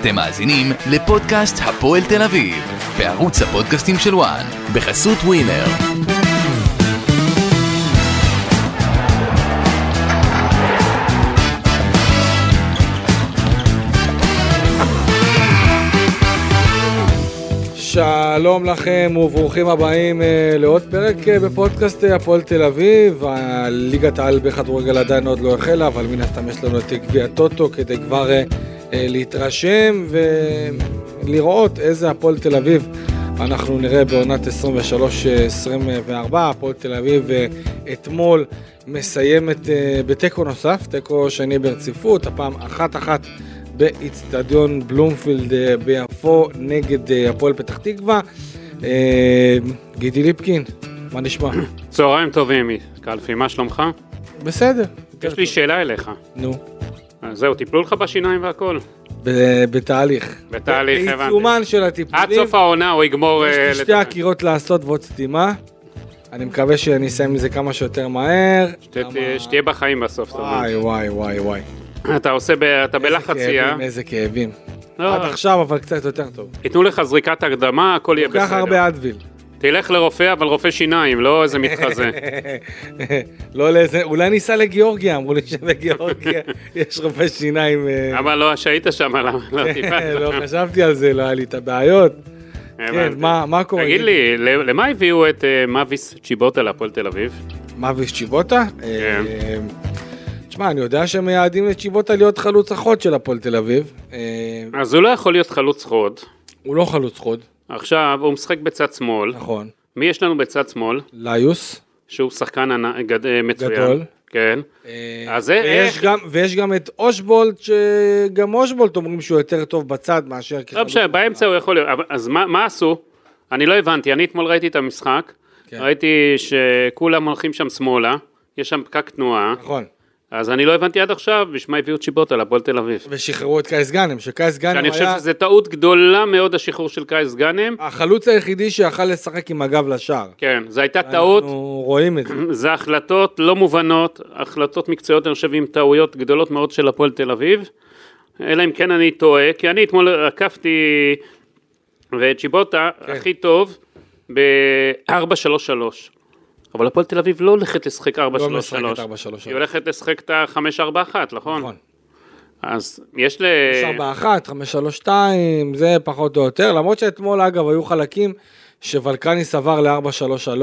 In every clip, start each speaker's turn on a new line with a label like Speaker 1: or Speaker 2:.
Speaker 1: אתם מאזינים לפודקאסט הפועל תל אביב, בערוץ הפודקאסטים של וואן, בחסות ווינר.
Speaker 2: שלום לכם וברוכים הבאים אה, לעוד פרק אה, בפודקאסט אה, הפועל תל אביב. ה- ליגת העל בכדורגל עדיין עוד לא החלה, אבל מן הסתם יש לנו את גביע הטוטו כדי כבר אה, אה, להתרשם ולראות איזה הפועל תל אביב אנחנו נראה בעונת 23-24. הפועל תל אביב אה, אתמול מסיימת אה, בתיקו נוסף, תיקו שני ברציפות, הפעם אחת-אחת. באיצטדיון בלומפילד אה, ביפו נגד אה, הפועל פתח תקווה. אה, גידי ליפקין, מה נשמע?
Speaker 3: צהריים טובים, קלפי, מה שלומך?
Speaker 2: בסדר.
Speaker 3: יש לי שאלה אליך.
Speaker 2: נו,
Speaker 3: אז זהו, טיפלו לך בשיניים והכל?
Speaker 2: ב- בתהליך.
Speaker 3: בתהליך, הבנתי.
Speaker 2: בעיצומן של
Speaker 3: עד
Speaker 2: הטיפולים.
Speaker 3: סוף העונה הוא יגמור... אה,
Speaker 2: יש לי שתי
Speaker 3: לטפל.
Speaker 2: עקירות לעשות ועוד סתימה. אני מקווה שאני אסיים עם זה כמה שיותר מהר.
Speaker 3: שת-
Speaker 2: כמה-
Speaker 3: שתהיה בחיים בסוף, זאת אומרת.
Speaker 2: וואי וואי וואי וואי.
Speaker 3: אתה עושה, ב- אתה בלחץ
Speaker 2: איזה
Speaker 3: יהיה.
Speaker 2: כאבים, אה? איזה כאבים.
Speaker 3: לא,
Speaker 2: עד עכשיו אבל קצת יותר טוב.
Speaker 3: ייתנו לך זריקת הקדמה, הכל יהיה
Speaker 2: כל כך
Speaker 3: בסדר.
Speaker 2: הרבה אדוויל.
Speaker 3: תלך לרופא, אבל רופא שיניים, לא איזה מתחזה.
Speaker 2: כן. לא לאיזה, אולי ניסע לגיאורגיה, אמרו לי שבגיאורגיה יש רופא שיניים. אה,
Speaker 3: אבל לא, שהיית שם, למה לא טיפלת?
Speaker 2: לא חשבתי על זה, לא היה לי את הבעיות. כן,
Speaker 3: הבנתי.
Speaker 2: מה מה קורה?
Speaker 3: תגיד לי, ל- למה הביאו את אה, מאביס צ'יבוטה להפועל תל אביב?
Speaker 2: מה וצ'יבוטה?
Speaker 3: כן.
Speaker 2: אה, תשמע, אני יודע שהם מייעדים לצ'יבוטה להיות חלוץ החוד של הפועל תל אביב. אה,
Speaker 3: אז הוא לא יכול להיות חלוץ חוד.
Speaker 2: הוא לא חלוץ חוד,
Speaker 3: עכשיו, הוא משחק בצד שמאל.
Speaker 2: נכון.
Speaker 3: מי יש לנו בצד שמאל?
Speaker 2: ליוס.
Speaker 3: שהוא שחקן ענ- גד- אה, מצוין.
Speaker 2: גדול.
Speaker 3: כן.
Speaker 2: אה,
Speaker 3: אז זה
Speaker 2: ויש
Speaker 3: איך-
Speaker 2: גם- ויש גם את אושבולט, שגם אושבולט אומרים שהוא יותר טוב בצד מאשר
Speaker 3: לא
Speaker 2: כחלוץ.
Speaker 3: משנה, באמצע הוא יכול להיות. אבל- אז מה, מה עשו? אני לא הבנתי, אני אתמול ראיתי את המשחק,
Speaker 2: כן.
Speaker 3: ראיתי שכולם הולכים שם שמאלה, יש שם פקק תנועה,
Speaker 2: נכון.
Speaker 3: אז אני לא הבנתי עד עכשיו בשביל מה הביאו צ'יבוטה לפועל תל אביב.
Speaker 2: ושחררו את קייס גאנם, שקייס גאנם
Speaker 3: שאני
Speaker 2: כן, היה...
Speaker 3: חושב שזו טעות גדולה מאוד השחרור של קייס גאנם.
Speaker 2: החלוץ היחידי שיכל לשחק עם הגב לשער.
Speaker 3: כן, זו הייתה
Speaker 2: אה,
Speaker 3: טעות,
Speaker 2: אנחנו רואים את זה.
Speaker 3: זה החלטות לא מובנות, החלטות מקצועיות, אני חושב, עם טעויות גדולות מאוד של הפועל תל אביב, אלא אם כן אני טועה, כי אני אתמול עקפתי, וצ'יבוטה
Speaker 2: כן.
Speaker 3: הכי טוב ב-4-3-3, אבל הפועל תל אביב לא הולכת לשחק 4-3-3,
Speaker 2: לא משחקת 4-3-3.
Speaker 3: היא הולכת לשחק את ה-5-4-1, נכון?
Speaker 2: נכון.
Speaker 3: אז יש ל...
Speaker 2: 4-1, 5-3-2, זה פחות או יותר. למרות שאתמול, אגב, היו חלקים שוולקניס עבר ל-4-3-3,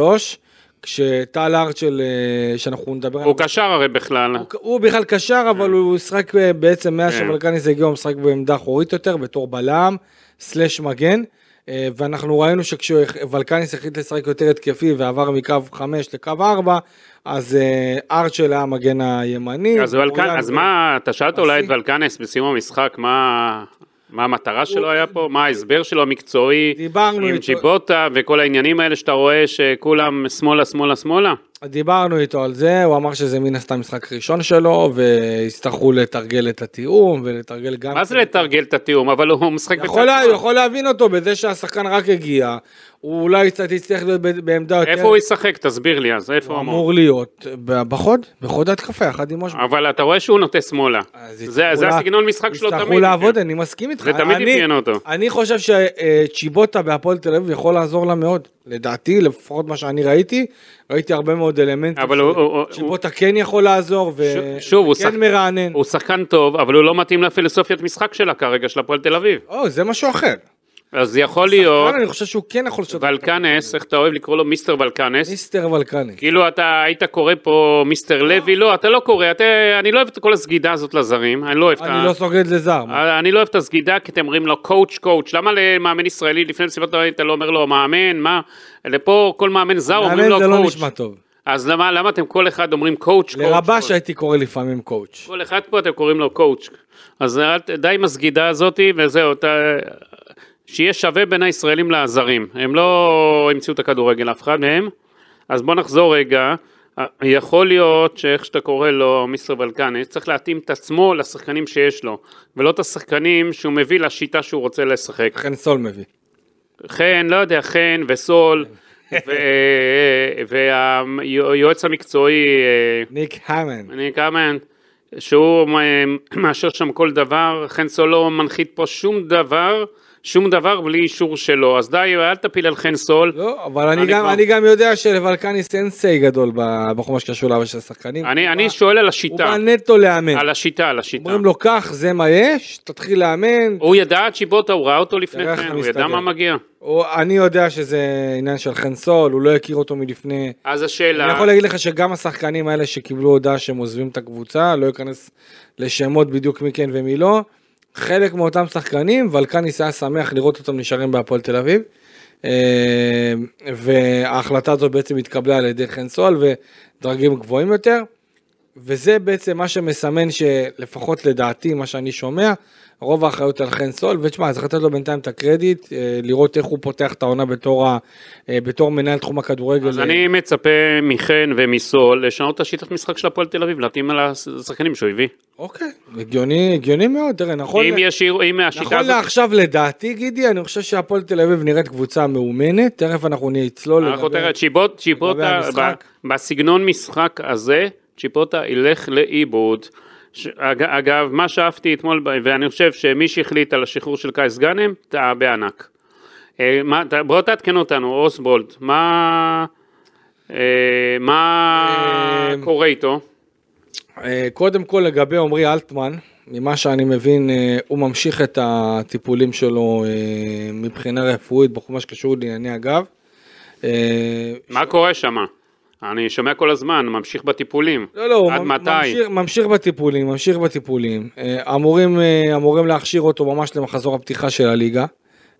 Speaker 2: כשטל ארצ'ל, אה, שאנחנו נדבר עליו,
Speaker 3: הוא קשר הרי בכלל,
Speaker 2: הוא- הוא בכלל קשר, אבל הוא שחק אה, בעצם מאז
Speaker 3: כן.
Speaker 2: שוולקניס הגיע, הוא משחק בעמדה אחורית יותר, בתור בלם, סלאש מגן. אה, ואנחנו ראינו שכשוולקניס החליט לשחק יותר התקפי ועבר מקו 5 לקו 4, אז אה, ארצ'ל היה המגן הימני.
Speaker 3: אז, ולקן,
Speaker 2: אוריאן-
Speaker 3: אז מה, אתה שאלת אולי את
Speaker 2: השיא.
Speaker 3: ולקנס בסיום המשחק, מה, מה המטרה שלו היה פה, מה ההסבר שלו המקצועי,
Speaker 2: דיברנו
Speaker 3: עם
Speaker 2: איתו.
Speaker 3: ג'יבוטה וכל העניינים האלה שאתה רואה שכולם שמאלה, שמאלה, שמאלה?
Speaker 2: דיברנו איתו על זה, הוא אמר שזה מן הסתם משחק ראשון שלו, ויצטרכו לתרגל את התיאום, ולתרגל גם...
Speaker 3: מה זה לא. לתרגל את התיאום, אבל הוא משחק
Speaker 2: יכול, לה,
Speaker 3: שמאל.
Speaker 2: יכול להבין אותו בזה שהשחקן רק הגיע, הוא אולי קצת יצטרך להיות ב- בעמדה יותר...
Speaker 3: איפה הוא ישחק? תסביר לי אז, איפה הוא אמור?
Speaker 2: אמור להיות? ב- בחוד, בחוד ההתקפה, יחד עם משהו.
Speaker 3: אבל אתה רואה שהוא נוטה שמאלה.
Speaker 2: אז
Speaker 3: זה
Speaker 2: יצטרכו
Speaker 3: זה
Speaker 2: לה-
Speaker 3: הסגנון משחק שלו תמיד.
Speaker 2: יצטרכו לעבוד, אני מסכים איתך.
Speaker 3: זה תמיד
Speaker 2: אני-
Speaker 3: אפיין אותו.
Speaker 2: אני חושב שצ'יבוטה בהפועל תל אביב יכול לעזור לה מאוד. לדעתי, לפחות מה שאני ראיתי, ראיתי הרבה מאוד אלמנטים.
Speaker 3: אבל
Speaker 2: של-
Speaker 3: הוא- הוא- הוא-
Speaker 2: צ'יבוטה כן יכול לעזור,
Speaker 3: ש- שוב, הוא שחק-
Speaker 2: וכן מרענן.
Speaker 3: הוא שחקן טוב, אבל הוא לא מתאים לפילוסופיית משחק שלה כרגע, של הפועל תל אביב.
Speaker 2: או, זה משהו אחר.
Speaker 3: אז יכול להיות,
Speaker 2: כאן אני חושב שהוא כן יכול לשתות.
Speaker 3: ולקנס, איך אתה אוהב לקרוא לו מיסטר ולקנס?
Speaker 2: מיסטר ולקני.
Speaker 3: כאילו אתה היית קורא פה מיסטר לוי, לא, אתה לא קורא, אתה- אני לא אוהב את כל הסגידה הזאת לזרים, אני לא אוהב את ה...
Speaker 2: אני לא סוגד לזר. מה?
Speaker 3: אני לא אוהב את הסגידה, כי אתם אומרים לו קואוץ' קואוץ', למה למאמן ישראלי לפני מסיבת העולם אתה לא אומר לו מאמן, מה? לפה כל מאמן זר אומרים לו
Speaker 2: מאמן זה לא
Speaker 3: קואוץ'.
Speaker 2: נשמע טוב.
Speaker 3: אז למה למה אתם כל אחד אומרים קואוץ' קואוץ'?
Speaker 2: לרבש הייתי קורא לפעמים קואוץ'.
Speaker 3: כל אחד פה אתם קוראים לו קואוץ'. אז אל ת- די עם הסגידה הזאת, וזהו, אתה... שיהיה שווה בין הישראלים לזרים. הם לא המציאו את הכדורגל, אף אחד מהם. אז בוא נחזור רגע. יכול להיות שאיך שאתה קורא לו מיסטר ולקני, צריך להתאים את עצמו לשחקנים שיש לו, ולא את השחקנים שהוא מביא לשיטה שהוא רוצה לשחק.
Speaker 2: חן סול מביא.
Speaker 3: חן, לא יודע, חן וסול, והיועץ המקצועי, אה,
Speaker 2: ניק האמן.
Speaker 3: אני קאמן, שהוא אה, מאשר שם כל דבר, חן סולו לא מנחית פה שום דבר, שום דבר בלי אישור שלו, אז די, אל תפיל על חן סול.
Speaker 2: לא, אבל אני
Speaker 3: אני
Speaker 2: גם-
Speaker 3: כבר-
Speaker 2: אני גם יודע שלוולקני סנסי גדול ב- בכל מה שקשור לאבא של השחקנים.
Speaker 3: אני,
Speaker 2: הוא
Speaker 3: אני
Speaker 2: בא-
Speaker 3: שואל על
Speaker 2: הוא
Speaker 3: השיטה,
Speaker 2: בא נטו לאמן.
Speaker 3: על השיטה, על השיטה.
Speaker 2: אומרים לו כך, זה מה יש, תתחיל לאמן.
Speaker 3: הוא ידע את שיבוטה, הוא ראה אותו לפני
Speaker 2: תראה איך
Speaker 3: כן,
Speaker 2: אתה
Speaker 3: הוא ידע
Speaker 2: מסתדר.
Speaker 3: מה מגיע.
Speaker 2: או- אני יודע שזה עניין של חן סול, הוא לא הכיר אותו מלפני.
Speaker 3: אז השאלה,
Speaker 2: אני יכול להגיד לך שגם השחקנים האלה שקיבלו הודעה שהם עוזבים את הקבוצה, לא אכנס לשמות בדיוק מי כן ומי לא, חלק מאותם שחקנים, ולקניס היה שמח לראות אותם נשארים בהפועל תל אביב. אה, וההחלטה הזו בעצם התקבלה על ידי חן סול ודרגים גבוהים יותר. וזה בעצם מה שמסמן שלפחות לדעתי, מה שאני שומע, רוב האחריות על חן סול, ותשמע, צריך לתת לו בינתיים את הקרדיט, אה, לראות איך הוא פותח את העונה בתור, ה- אה, בתור מנהל תחום הכדורגל.
Speaker 3: אז אני מצפה מחן ומסול לשנות את השיטת משחק של הפועל תל אביב, להתאים על השחקנים שהוא הביא.
Speaker 2: אוקיי, הגיוני, הגיוני מאוד, תראה, נכון,
Speaker 3: אם ישיר, אם
Speaker 2: נכון
Speaker 3: השיטה הזאת,
Speaker 2: לעכשיו לדעתי, גידי, אני חושב שהפועל תל אביב נראית קבוצה מאומנת, תכף אנחנו נצלול
Speaker 3: אנחנו תראה, צ'יבוט- צ'יבוטה,
Speaker 2: המשחק.
Speaker 3: ב- בסגנון משחק הזה, צ'יבוטה ילך לאיבוד. ש- אג- אגב, מה שאהבתי אתמול, ב- ואני חושב שמי שהחליט על השחרור של קייס גאנם, טעה בענק. אה, מה- ת- בוא תעדכן אותנו, אוסבולד, מה... אה, מה
Speaker 2: אה,
Speaker 3: קורה איתו?
Speaker 2: אה, קודם כל לגבי עמרי אלטמן, ממה שאני מבין, אה, הוא ממשיך את הטיפולים שלו אה, מבחינה רפואית בכל מה שקשור לענייני הגב. אה,
Speaker 3: מה קורה שם? אני שומע כל הזמן, ממשיך בטיפולים.
Speaker 2: לא, לא, הוא
Speaker 3: עד
Speaker 2: ממ-
Speaker 3: מתי?
Speaker 2: ממשיך, ממשיך בטיפולים, ממשיך בטיפולים. אה, אמורים, אה, אמורים להכשיר אותו ממש למחזור הפתיחה של הליגה.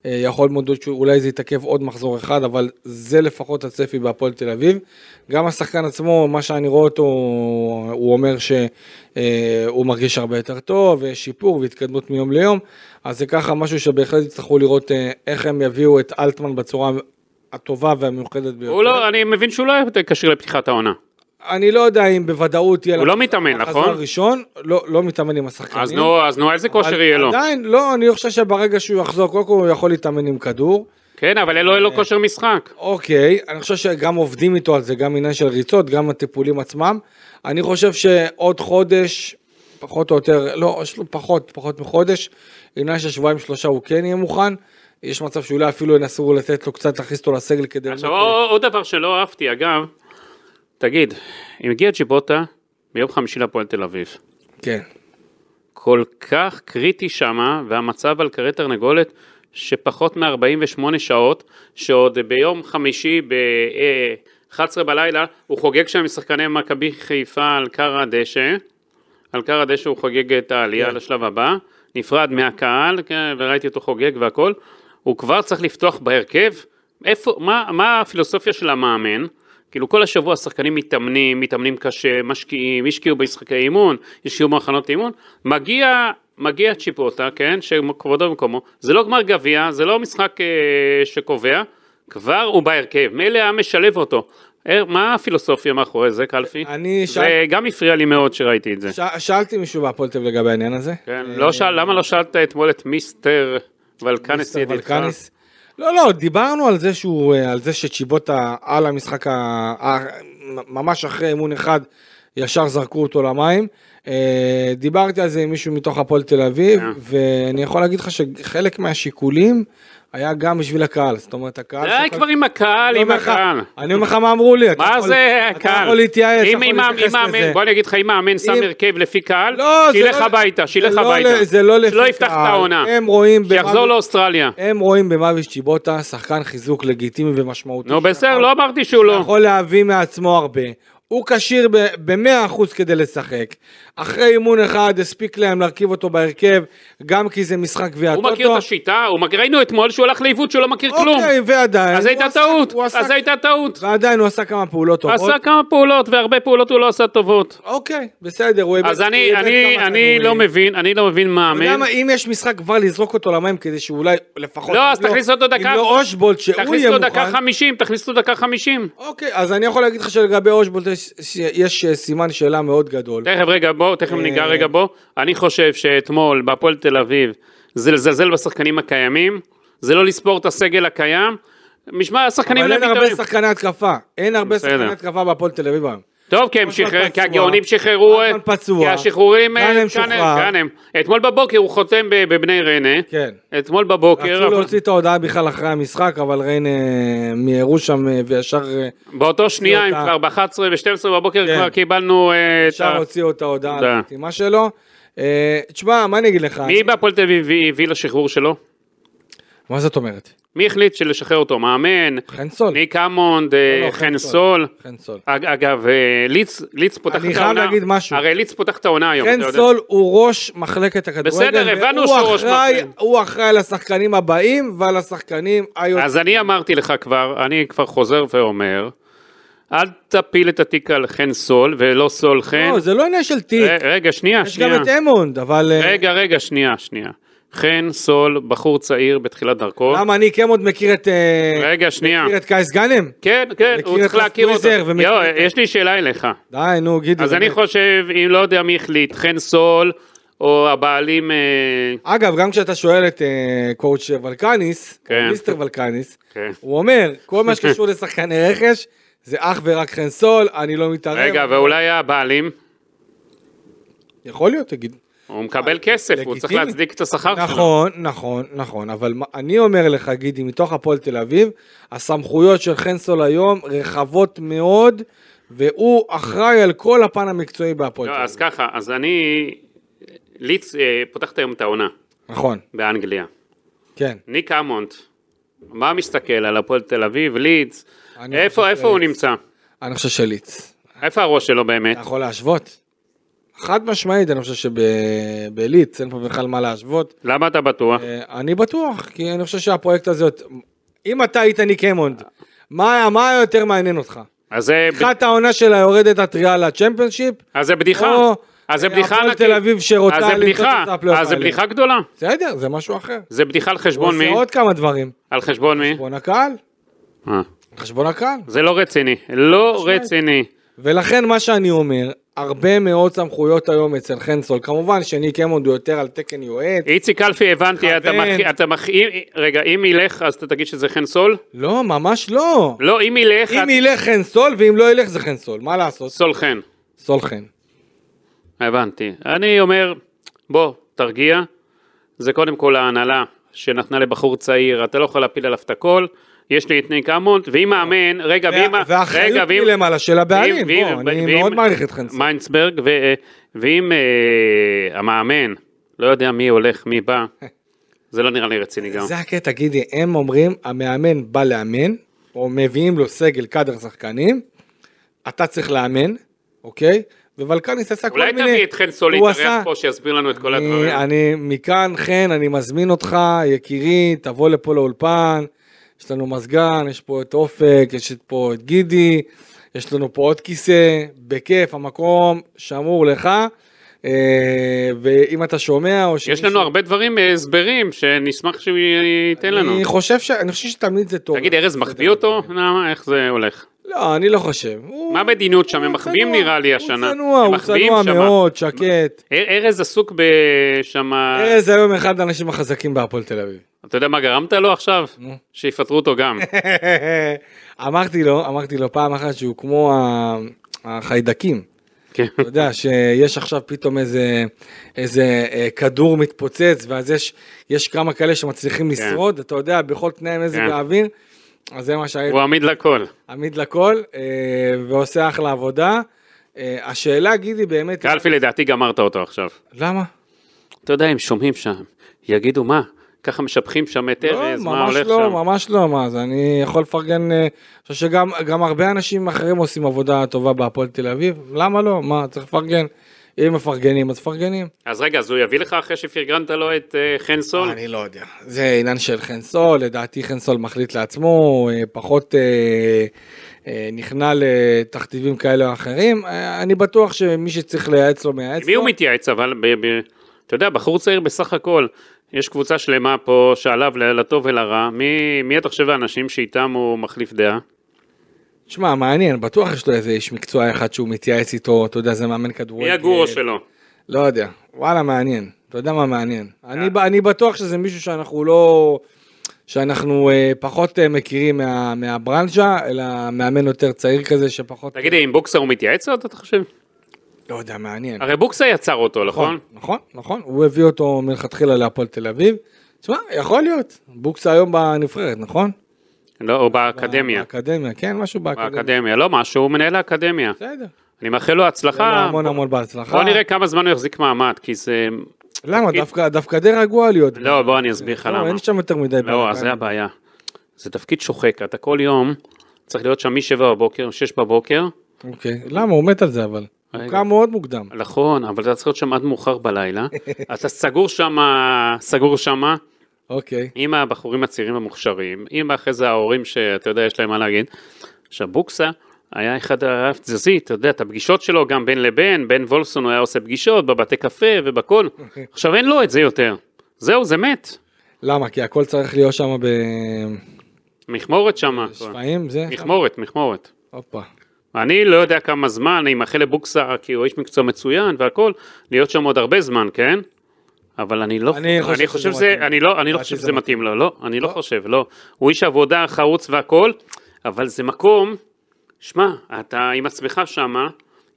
Speaker 2: אה, יכול מאוד להיות שאולי זה יתעכב עוד מחזור אחד, אבל זה לפחות הצפי בהפועל תל אביב. גם השחקן עצמו, מה שאני רואה אותו, הוא אומר שהוא מרגיש הרבה יותר טוב, ויש שיפור והתקדמות מיום ליום. אז זה ככה משהו שבהחלט יצטרכו לראות אה, איך הם יביאו את אלטמן בצורה הטובה והמיוחדת ביותר.
Speaker 3: הוא לא, אני מבין שהוא לא היה כשיר לפתיחת העונה.
Speaker 2: אני לא יודע אם בוודאות יהיה...
Speaker 3: הוא
Speaker 2: לה-
Speaker 3: לא מתאמן,
Speaker 2: מחזור
Speaker 3: נכון?
Speaker 2: ראשון, לא, לא מתאמן עם השחקנים.
Speaker 3: אז נו, אז נו, איזה כושר
Speaker 2: אבל
Speaker 3: יהיה לו?
Speaker 2: עדיין, לא, אני חושב שברגע שהוא יחזור, קודם כל הוא יכול להתאמן עם כדור.
Speaker 3: כן, אבל אין לו- אין לו כושר משחק.
Speaker 2: אוקיי, אני חושב שגם עובדים איתו על זה, גם עניין של ריצות, גם הטיפולים עצמם. אני חושב שעוד חודש, פחות או יותר, לא, יש לו פחות, פחות מחודש, עניין של שבועיים שלושה הוא כן יהיה מוכן. יש מצב שאולי אפילו ינסו לתת לו קצת, להכניס אותו לסגל כדי...
Speaker 3: עכשיו,
Speaker 2: באמת-
Speaker 3: עוד- עוד דבר שלא אהבתי, אגב, תגיד, אם הגיע צ'יבוטה ביום חמישי להפועל תל אביב,
Speaker 2: כן.
Speaker 3: כל כך קריטי שמה, והמצב על כרי תרנגולת, שפחות מ-48 שעות, שעוד ביום חמישי ב-11 בלילה, הוא חוגג שם עם שחקני מכבי חיפה על כר הדשא, על כר הדשא הוא חוגג את העלייה
Speaker 2: כן.
Speaker 3: לשלב הבא, נפרד מהקהל, כן, וראיתי אותו חוגג והכל, הוא כבר צריך לפתוח בהרכב, איפה, מה, מה הפילוסופיה של המאמן? כאילו כל השבוע השחקנים מתאמנים, מתאמנים קשה, משקיעים, השקיעו במשחקי אימון, השקיעו בהכנות אימון, מגיע, מגיע צ'יפוטה, כן, שכבודו במקומו, זה לא גמר גביע, זה לא משחק אה, שקובע, כבר הוא בהרכב, מילא היה משלב אותו. אה, מה הפילוסופיה מאחורי זה, קלפי?
Speaker 2: אני
Speaker 3: זה
Speaker 2: שאל-
Speaker 3: גם הפריע לי מאוד שראיתי את זה.
Speaker 2: ש... שאלתי מישהו בהפועל תל אביב לגבי העניין הזה.
Speaker 3: כן, לא שאל, למה לא שאלת אתמול את מיסטר ולקניס
Speaker 2: מיסטר
Speaker 3: ידידך?
Speaker 2: ולקניס. לא, לא, דיברנו על זה שהוא, אה, על זה שצ'יבוטה על המשחק, ה... ה- ממש אחרי אימון אחד, ישר זרקו אותו למים. אה, דיברתי על זה עם מישהו מתוך הפועל תל אביב,
Speaker 3: אה.
Speaker 2: ואני יכול להגיד לך שחלק מהשיקולים היה גם בשביל הקהל, זאת אומרת, הקהל...
Speaker 3: די
Speaker 2: שיכול-
Speaker 3: אה, כבר עם הקהל,
Speaker 2: אני
Speaker 3: עם
Speaker 2: אומר לך-
Speaker 3: הקהל.
Speaker 2: אני אומר לך מה אמרו לי, אתה
Speaker 3: מה
Speaker 2: לא נכון. יכול-
Speaker 3: זה
Speaker 2: אתה
Speaker 3: הקהל?
Speaker 2: יכול להתייעץ,
Speaker 3: אם-
Speaker 2: אתה
Speaker 3: אם
Speaker 2: יכול
Speaker 3: מאמן-
Speaker 2: להתייחס
Speaker 3: אם מאמן-
Speaker 2: לזה.
Speaker 3: בוא אני אגיד לך, אם מאמן שם
Speaker 2: אם-
Speaker 3: הרכב לפי קהל,
Speaker 2: לא, זה
Speaker 3: שילך
Speaker 2: לא-
Speaker 3: הביתה,
Speaker 2: זה
Speaker 3: שילך
Speaker 2: לא
Speaker 3: הביתה.
Speaker 2: ל- זה לא לפי
Speaker 3: שלא יפתח את
Speaker 2: קהל.
Speaker 3: העונה.
Speaker 2: הם רואים במה-
Speaker 3: שיחזור לאוסטרליה.
Speaker 2: הם רואים במאביס צ'יבוטה שחקן חיזוק לגיטימי ומשמעותי.
Speaker 3: נו בסדר,
Speaker 2: שיכול-
Speaker 3: לא אמרתי שהוא לא.
Speaker 2: יכול להביא מעצמו הרבה. הוא כשיר ב-100% כדי לשחק. אחרי אימון אחד הספיק להם להרכיב אותו בהרכב, גם כי זה משחק גביע
Speaker 3: הוא
Speaker 2: הטוטו.
Speaker 3: מכיר את השיטה, הוא מכיר- ראינו אתמול שהוא הלך לעיוות שהוא לא מכיר כלום.
Speaker 2: אוקיי, ועדיין.
Speaker 3: אז
Speaker 2: הוא
Speaker 3: הייתה
Speaker 2: עשה-
Speaker 3: טעות,
Speaker 2: הוא עשה-
Speaker 3: אז הייתה טעות.
Speaker 2: ועדיין הוא עשה כמה פעולות טובות.
Speaker 3: עשה כמה פעולות, והרבה פעולות הוא לא עשה טובות.
Speaker 2: אוקיי, בסדר. הוא איבד-
Speaker 3: אז
Speaker 2: הוא
Speaker 3: אני,
Speaker 2: איבד
Speaker 3: אני,
Speaker 2: כמה
Speaker 3: אני
Speaker 2: כדורים.
Speaker 3: לא מבין, אני לא מבין מה
Speaker 2: אתה יודע
Speaker 3: מאמן.
Speaker 2: מה, אם יש משחק כבר לזרוק אותו למים כדי שאולי לפחות...
Speaker 3: לא,
Speaker 2: אם
Speaker 3: אז תכניס אותו דקה.
Speaker 2: אם לא אושבולט שהוא יהיה מוכן.
Speaker 3: תכניס לו דקה חמישים, תכניס לו דקה חמישים.
Speaker 2: אוקיי, אז אני יכול להגיד לך שלגבי אושבולט יש- יש אה, סימן שאלה מאוד גדול.
Speaker 3: תכף רגע בוא, תכף
Speaker 2: אה.
Speaker 3: ניגע רגע בוא. אני חושב שאתמול בהפועל תל אביב זה לזלזל בשחקנים הקיימים, זה לא לספור את הסגל הקיים. משמע, השחקנים לא
Speaker 2: אבל
Speaker 3: האלה
Speaker 2: אין הרבה
Speaker 3: מתארים.
Speaker 2: שחקני התקפה, אין הרבה
Speaker 3: בסדר.
Speaker 2: שחקני התקפה בהפועל תל אביב היום.
Speaker 3: טוב, כי הם
Speaker 2: אולמן
Speaker 3: שחררו, כי
Speaker 2: פצוע.
Speaker 3: הגאונים שחררו,
Speaker 2: אולמן פצוע.
Speaker 3: כי השחרורים, אה,
Speaker 2: גאנם
Speaker 3: כאן-
Speaker 2: שוחרר.
Speaker 3: גאנם. אתמול בבוקר הוא חותם ב- בבני ריינה,
Speaker 2: כן.
Speaker 3: אתמול בבוקר,
Speaker 2: רצו
Speaker 3: אוקיי, אבל-
Speaker 2: להוציא את ההודעה בכלל אחרי המשחק, אבל ריינה מיהרו שם אה, וישר אה,
Speaker 3: באותו שנייה, הם
Speaker 2: אותה.
Speaker 3: כבר ב-11 ו-12 בבוקר
Speaker 2: כן.
Speaker 3: כבר קיבלנו אה, את
Speaker 2: ישר
Speaker 3: ה...
Speaker 2: הוציאו את ההודעה על
Speaker 3: תודה.
Speaker 2: החתימה שלו. אה, תשמע, מה אני אגיד לך?
Speaker 3: מי בהפועל תל אביב הביא- הביא לשחרור שלו?
Speaker 2: מה זאת אומרת?
Speaker 3: מי החליט שלשחרר אותו? מאמן,
Speaker 2: חן סול.
Speaker 3: ניק אמונד, אה,
Speaker 2: לא, לא,
Speaker 3: חן סול.
Speaker 2: חן סול.
Speaker 3: אג- אגב, אה, ליץ ליץ פותח את העונה.
Speaker 2: אני חייב להגיד משהו.
Speaker 3: הרי ליץ פותח את העונה היום. אתה
Speaker 2: חן
Speaker 3: יודע.
Speaker 2: סול הוא ראש מחלקת הכדורגל.
Speaker 3: בסדר, הבנו
Speaker 2: והוא
Speaker 3: שהוא ראש
Speaker 2: אחראי-
Speaker 3: מחלקת.
Speaker 2: הוא אחראי על השחקנים הבאים ועל השחקנים היוצאים.
Speaker 3: אז אני אמרתי לך כבר, אני כבר חוזר ואומר, אל תפיל את התיק על חן סול ולא סול חן.
Speaker 2: לא, זה לא עניין של תיק.
Speaker 3: ר- רגע, שנייה,
Speaker 2: יש גם
Speaker 3: שנייה.
Speaker 2: את אמונד, אבל אה,
Speaker 3: רגע, רגע, שנייה, שנייה. חן סול, בחור צעיר בתחילת דרכו.
Speaker 2: למה אני כן עוד מכיר את... אה,
Speaker 3: רגע, שנייה.
Speaker 2: מכיר את קייס גאנם?
Speaker 3: כן, כן,
Speaker 2: מכיר
Speaker 3: הוא
Speaker 2: את
Speaker 3: צריך
Speaker 2: רף
Speaker 3: להכיר אותו.
Speaker 2: טוויזר ומכיר
Speaker 3: יואו,
Speaker 2: את-
Speaker 3: יש לי שאלה אליך.
Speaker 2: די, נו, גידי.
Speaker 3: אז אני
Speaker 2: באמת.
Speaker 3: חושב, אם לא יודע מי החליט, חן סול, או הבעלים... אה,
Speaker 2: אגב, גם כשאתה שואל את אה, קואוצ' ולקניס,
Speaker 3: כן.
Speaker 2: מיסטר ולקניס,
Speaker 3: כן.
Speaker 2: הוא אומר, כל מה שקשור לשחקני רכש, זה אך ורק חן סול, אני לא מתערב.
Speaker 3: רגע, ואולי הבעלים?
Speaker 2: יכול להיות, תגיד.
Speaker 3: הוא מקבל כסף, הוא צריך
Speaker 2: אה, לגיטימי.
Speaker 3: להצדיק את השכר שלו.
Speaker 2: נכון, נכון, נכון, אבל מה- אני אומר לך, גידי, מתוך הפועל תל אביב, הסמכויות של חן סול היום רחבות מאוד, והוא אחראי על כל הפן המקצועי בהפועל
Speaker 3: לא,
Speaker 2: תל
Speaker 3: אז
Speaker 2: אביב.
Speaker 3: ככה, אז אני... ליץ אה, פותחת היום את העונה
Speaker 2: נכון,
Speaker 3: באנגליה.
Speaker 2: כן.
Speaker 3: ניק אמונט, מה מסתכל על הפועל תל אביב, ליץ?
Speaker 2: אני
Speaker 3: איפה,
Speaker 2: חושב
Speaker 3: איפה הוא
Speaker 2: שליץ.
Speaker 3: נמצא?
Speaker 2: אני חושב שליץ.
Speaker 3: איפה הראש שלו באמת?
Speaker 2: אתה יכול להשוות? חד משמעית, אני חושב שבליץ אין פה בכלל מה להשוות.
Speaker 3: למה אתה בטוח?
Speaker 2: אה, אני בטוח, כי אני חושב שהפרויקט הזה, אם אתה היית ניק אמונד, מה מה היה יותר מעניין אותך?
Speaker 3: אז זה ב-
Speaker 2: פתיחת העונה שלה יורדת הטריה לצ'מפיונשיפ?
Speaker 3: אז זה בדיחה.
Speaker 2: או,
Speaker 3: אז זה
Speaker 2: אה,
Speaker 3: בדיחה
Speaker 2: הפועל
Speaker 3: ענקית.
Speaker 2: תל אביב שרוצה
Speaker 3: אז זה
Speaker 2: למצוא
Speaker 3: בדיחה.
Speaker 2: את הפלייאוף
Speaker 3: אז זה
Speaker 2: העליון.
Speaker 3: בדיחה גדולה.
Speaker 2: בסדר, זה משהו אחר.
Speaker 3: זה בדיחה על
Speaker 2: הוא
Speaker 3: חשבון
Speaker 2: עושה
Speaker 3: מי?
Speaker 2: עוד כמה דברים.
Speaker 3: על חשבון מי?
Speaker 2: חשבון הקהל,
Speaker 3: אה,
Speaker 2: חשבון הקהל.
Speaker 3: זה לא רציני. לא רציני.
Speaker 2: ולכן מה שאני אומר, הרבה מאוד סמכויות היום אצל חן סול. כמובן שניק אמונד הוא יותר על תקן יועץ.
Speaker 3: איציק אלפי, הבנתי, אתה
Speaker 2: מכוון.
Speaker 3: מכ- אתה מכין... רגע, אם ילך, אז אתה תגיד שזה חן סול?
Speaker 2: לא, ממש לא.
Speaker 3: לא, אם ילך,
Speaker 2: אם
Speaker 3: את-
Speaker 2: ילך חן סול, ואם לא ילך זה חן סול, מה לעשות?
Speaker 3: סול חן.
Speaker 2: סול חן.
Speaker 3: הבנתי. אני אומר, בוא, תרגיע. זה קודם כל ההנהלה שנתנה לבחור צעיר, אתה לא יכול להפיל עליו את הכל. יש לי את ניק אמונט, ואם מאמן, רגע, ואם...
Speaker 2: וה- והאחריות
Speaker 3: רגע,
Speaker 2: היא
Speaker 3: ואם-
Speaker 2: למעלה של הבעלים.
Speaker 3: ואם-
Speaker 2: בוא,
Speaker 3: ואם-
Speaker 2: אני מאוד
Speaker 3: ואם-
Speaker 2: מעריך את חן סול.
Speaker 3: מיינצברג, ו- אה, ואם אה, המאמן, לא יודע מי הולך, מי בא, זה לא נראה לי רציני גם.
Speaker 2: זה הקטע, גידי, הם אומרים, המאמן בא לאמן, או מביאים לו סגל קאדר שחקנים, אתה צריך לאמן, אוקיי? ווולקניס עשה כל מיני...
Speaker 3: אולי תביא את חן סולי,
Speaker 2: הוא
Speaker 3: תארח
Speaker 2: עשה-
Speaker 3: פה, שיסביר לנו את כל
Speaker 2: אני-
Speaker 3: הדברים.
Speaker 2: אה, אני מכאן, חן, אני מזמין אותך, יקירי, תבוא לפה לאולפן, יש לנו מזגן, יש פה את אופק, יש פה את גידי, יש לנו פה עוד כיסא, בכיף, המקום שמור לך, אה, ואם אתה שומע או
Speaker 3: יש לנו הרבה דברים, אה, הסברים, שנשמח שהוא י- ייתן לנו.
Speaker 2: אני חושב ש... אני חושב שתמיד זה טוב.
Speaker 3: תגיד, ארז מחביא אותו? למה? איך זה הולך?
Speaker 2: לא, אני לא חושב. הוא-
Speaker 3: מה המדיניות שם? הם
Speaker 2: הוא
Speaker 3: מחביאים
Speaker 2: צנוע,
Speaker 3: נראה לי השנה.
Speaker 2: הוא צנוע,
Speaker 3: הם
Speaker 2: הוא
Speaker 3: מחביאים
Speaker 2: צנוע
Speaker 3: שמה.
Speaker 2: מאוד, שקט.
Speaker 3: אר- ארז עסוק בשמה...
Speaker 2: ארז היום אחד האנשים החזקים בהפועל תל אביב.
Speaker 3: אתה יודע מה גרמת לו עכשיו? שיפטרו אותו גם.
Speaker 2: אמרתי לו, אמרתי לו פעם אחת שהוא כמו ה- החיידקים.
Speaker 3: כן.
Speaker 2: אתה יודע שיש עכשיו פתאום איזה, איזה אה, כדור מתפוצץ ואז יש, יש כמה כאלה שמצליחים לשרוד, אתה יודע, בכל תנאי מזג
Speaker 3: כן.
Speaker 2: האוויר. אז זה מה שהיה
Speaker 3: הוא עמיד לכל.
Speaker 2: עמיד לכל, אה, ועושה אחלה עבודה. אה, השאלה, גידי, באמת,
Speaker 3: קלפי לדעתי גמרת אותו עכשיו.
Speaker 2: למה?
Speaker 3: אתה יודע, הם שומעים שם, יגידו מה, ככה משבחים שם את
Speaker 2: לא,
Speaker 3: ארז, מה
Speaker 2: ממש
Speaker 3: הולך
Speaker 2: לא,
Speaker 3: שם.
Speaker 2: ממש לא, מה זה, אני יכול לפרגן, אה, אני חושב שגם גם הרבה אנשים אחרים עושים עבודה טובה בהפועל תל אביב, למה לא? מה, צריך לפרגן. אם מפרגנים, אז מפרגנים.
Speaker 3: אז רגע, אז הוא יביא לך אחרי שפרגנת לו את אה, חן סול?
Speaker 2: אני לא יודע. זה עניין של חן סול, לדעתי חן סול מחליט לעצמו, הוא, אה, פחות אה, אה, נכנע לתכתיבים כאלה או אחרים. אה, אני בטוח שמי שצריך לייעץ לו, מייעץ לו.
Speaker 3: מי הוא מתייעץ אבל? ב- ב- אתה יודע, בחור צעיר בסך הכל, יש קבוצה שלמה פה שעליו ל- לטוב ולרע, מי- מי אתה חושב האנשים שאיתם הוא מחליף דעה?
Speaker 2: שמע, מעניין, בטוח יש לו איזה איש מקצוע אחד שהוא מתייעץ איתו, אתה יודע, זה מאמן כדורגל.
Speaker 3: מי הגורו שלו?
Speaker 2: לא יודע,
Speaker 3: כן.
Speaker 2: וואלה, מעניין. אתה יודע מה מעניין. אני, ב- אני בטוח שזה מישהו שאנחנו לא... שאנחנו אה, פחות אה, מכירים מה, מהברנז'ה, אלא מאמן יותר צעיר כזה שפחות...
Speaker 3: תגידי, עם בוקסה הוא מתייעץ עוד, אתה חושב?
Speaker 2: לא יודע, מעניין.
Speaker 3: הרי בוקסה יצר אותו, נכון?
Speaker 2: נכון, נכון. הוא הביא אותו מלכתחילה להפועל תל אביב. תשמע, יכול להיות. בוקסה היום בנבחרת, נכון?
Speaker 3: לא, הוא באקדמיה.
Speaker 2: באקדמיה, כן, משהו באקדמיה.
Speaker 3: באקדמיה, לא משהו, הוא מנהל האקדמיה.
Speaker 2: בסדר.
Speaker 3: אני מאחל לו הצלחה.
Speaker 2: לא, המון המון בהצלחה.
Speaker 3: בוא נראה כמה זמן הוא יחזיק מעמד, כי זה...
Speaker 2: למה? דווקא- דווקא די רגוע להיות.
Speaker 3: לא, בוא אני אסביר לך
Speaker 2: לא,
Speaker 3: למה.
Speaker 2: אין שם יותר מדי
Speaker 3: לא,
Speaker 2: בלאגן.
Speaker 3: אז זה הבעיה. זה תפקיד שוחק, אתה כל יום צריך להיות שם מ-7 בבוקר, 6 בבוקר.
Speaker 2: אוקיי. למה? הוא מת על זה אבל. הוא
Speaker 3: רגע.
Speaker 2: קם מאוד מוקדם.
Speaker 3: נכון, אבל אתה צריך להיות שם עד מאוחר בלילה. אתה סגור שם, סגור שם,
Speaker 2: אוקיי.
Speaker 3: עם הבחורים הצעירים המוכשרים, עם אחרי זה ההורים שאתה יודע, יש להם מה להגיד. עכשיו, בוקסה היה אחד הרב תזזי, אתה יודע, את הפגישות שלו גם בין לבין, בן וולפסון הוא היה עושה פגישות בבתי קפה ובכל. עכשיו אין לו את זה יותר. זהו, זה מת.
Speaker 2: למה? כי הכל צריך להיות שם
Speaker 3: מכמורת שמה.
Speaker 2: בשפיים? זה?
Speaker 3: מכמורת, מכמורת.
Speaker 2: הופה.
Speaker 3: אני לא יודע כמה זמן, אני מאחל לבוקסה, כי הוא איש מקצוע מצוין והכל, להיות שם עוד הרבה זמן, כן? אבל אני לא
Speaker 2: אני חושב
Speaker 3: אני
Speaker 2: שזה
Speaker 3: חושב שזה,
Speaker 2: מתאים.
Speaker 3: אני לא, אני לא
Speaker 2: לדעתי
Speaker 3: חושב
Speaker 2: זה
Speaker 3: שזה מתאים לו, לא, אני לא חושב, לא. הוא איש עבודה, חרוץ והכל, אבל זה מקום, שמע, אתה עם עצמך שמה,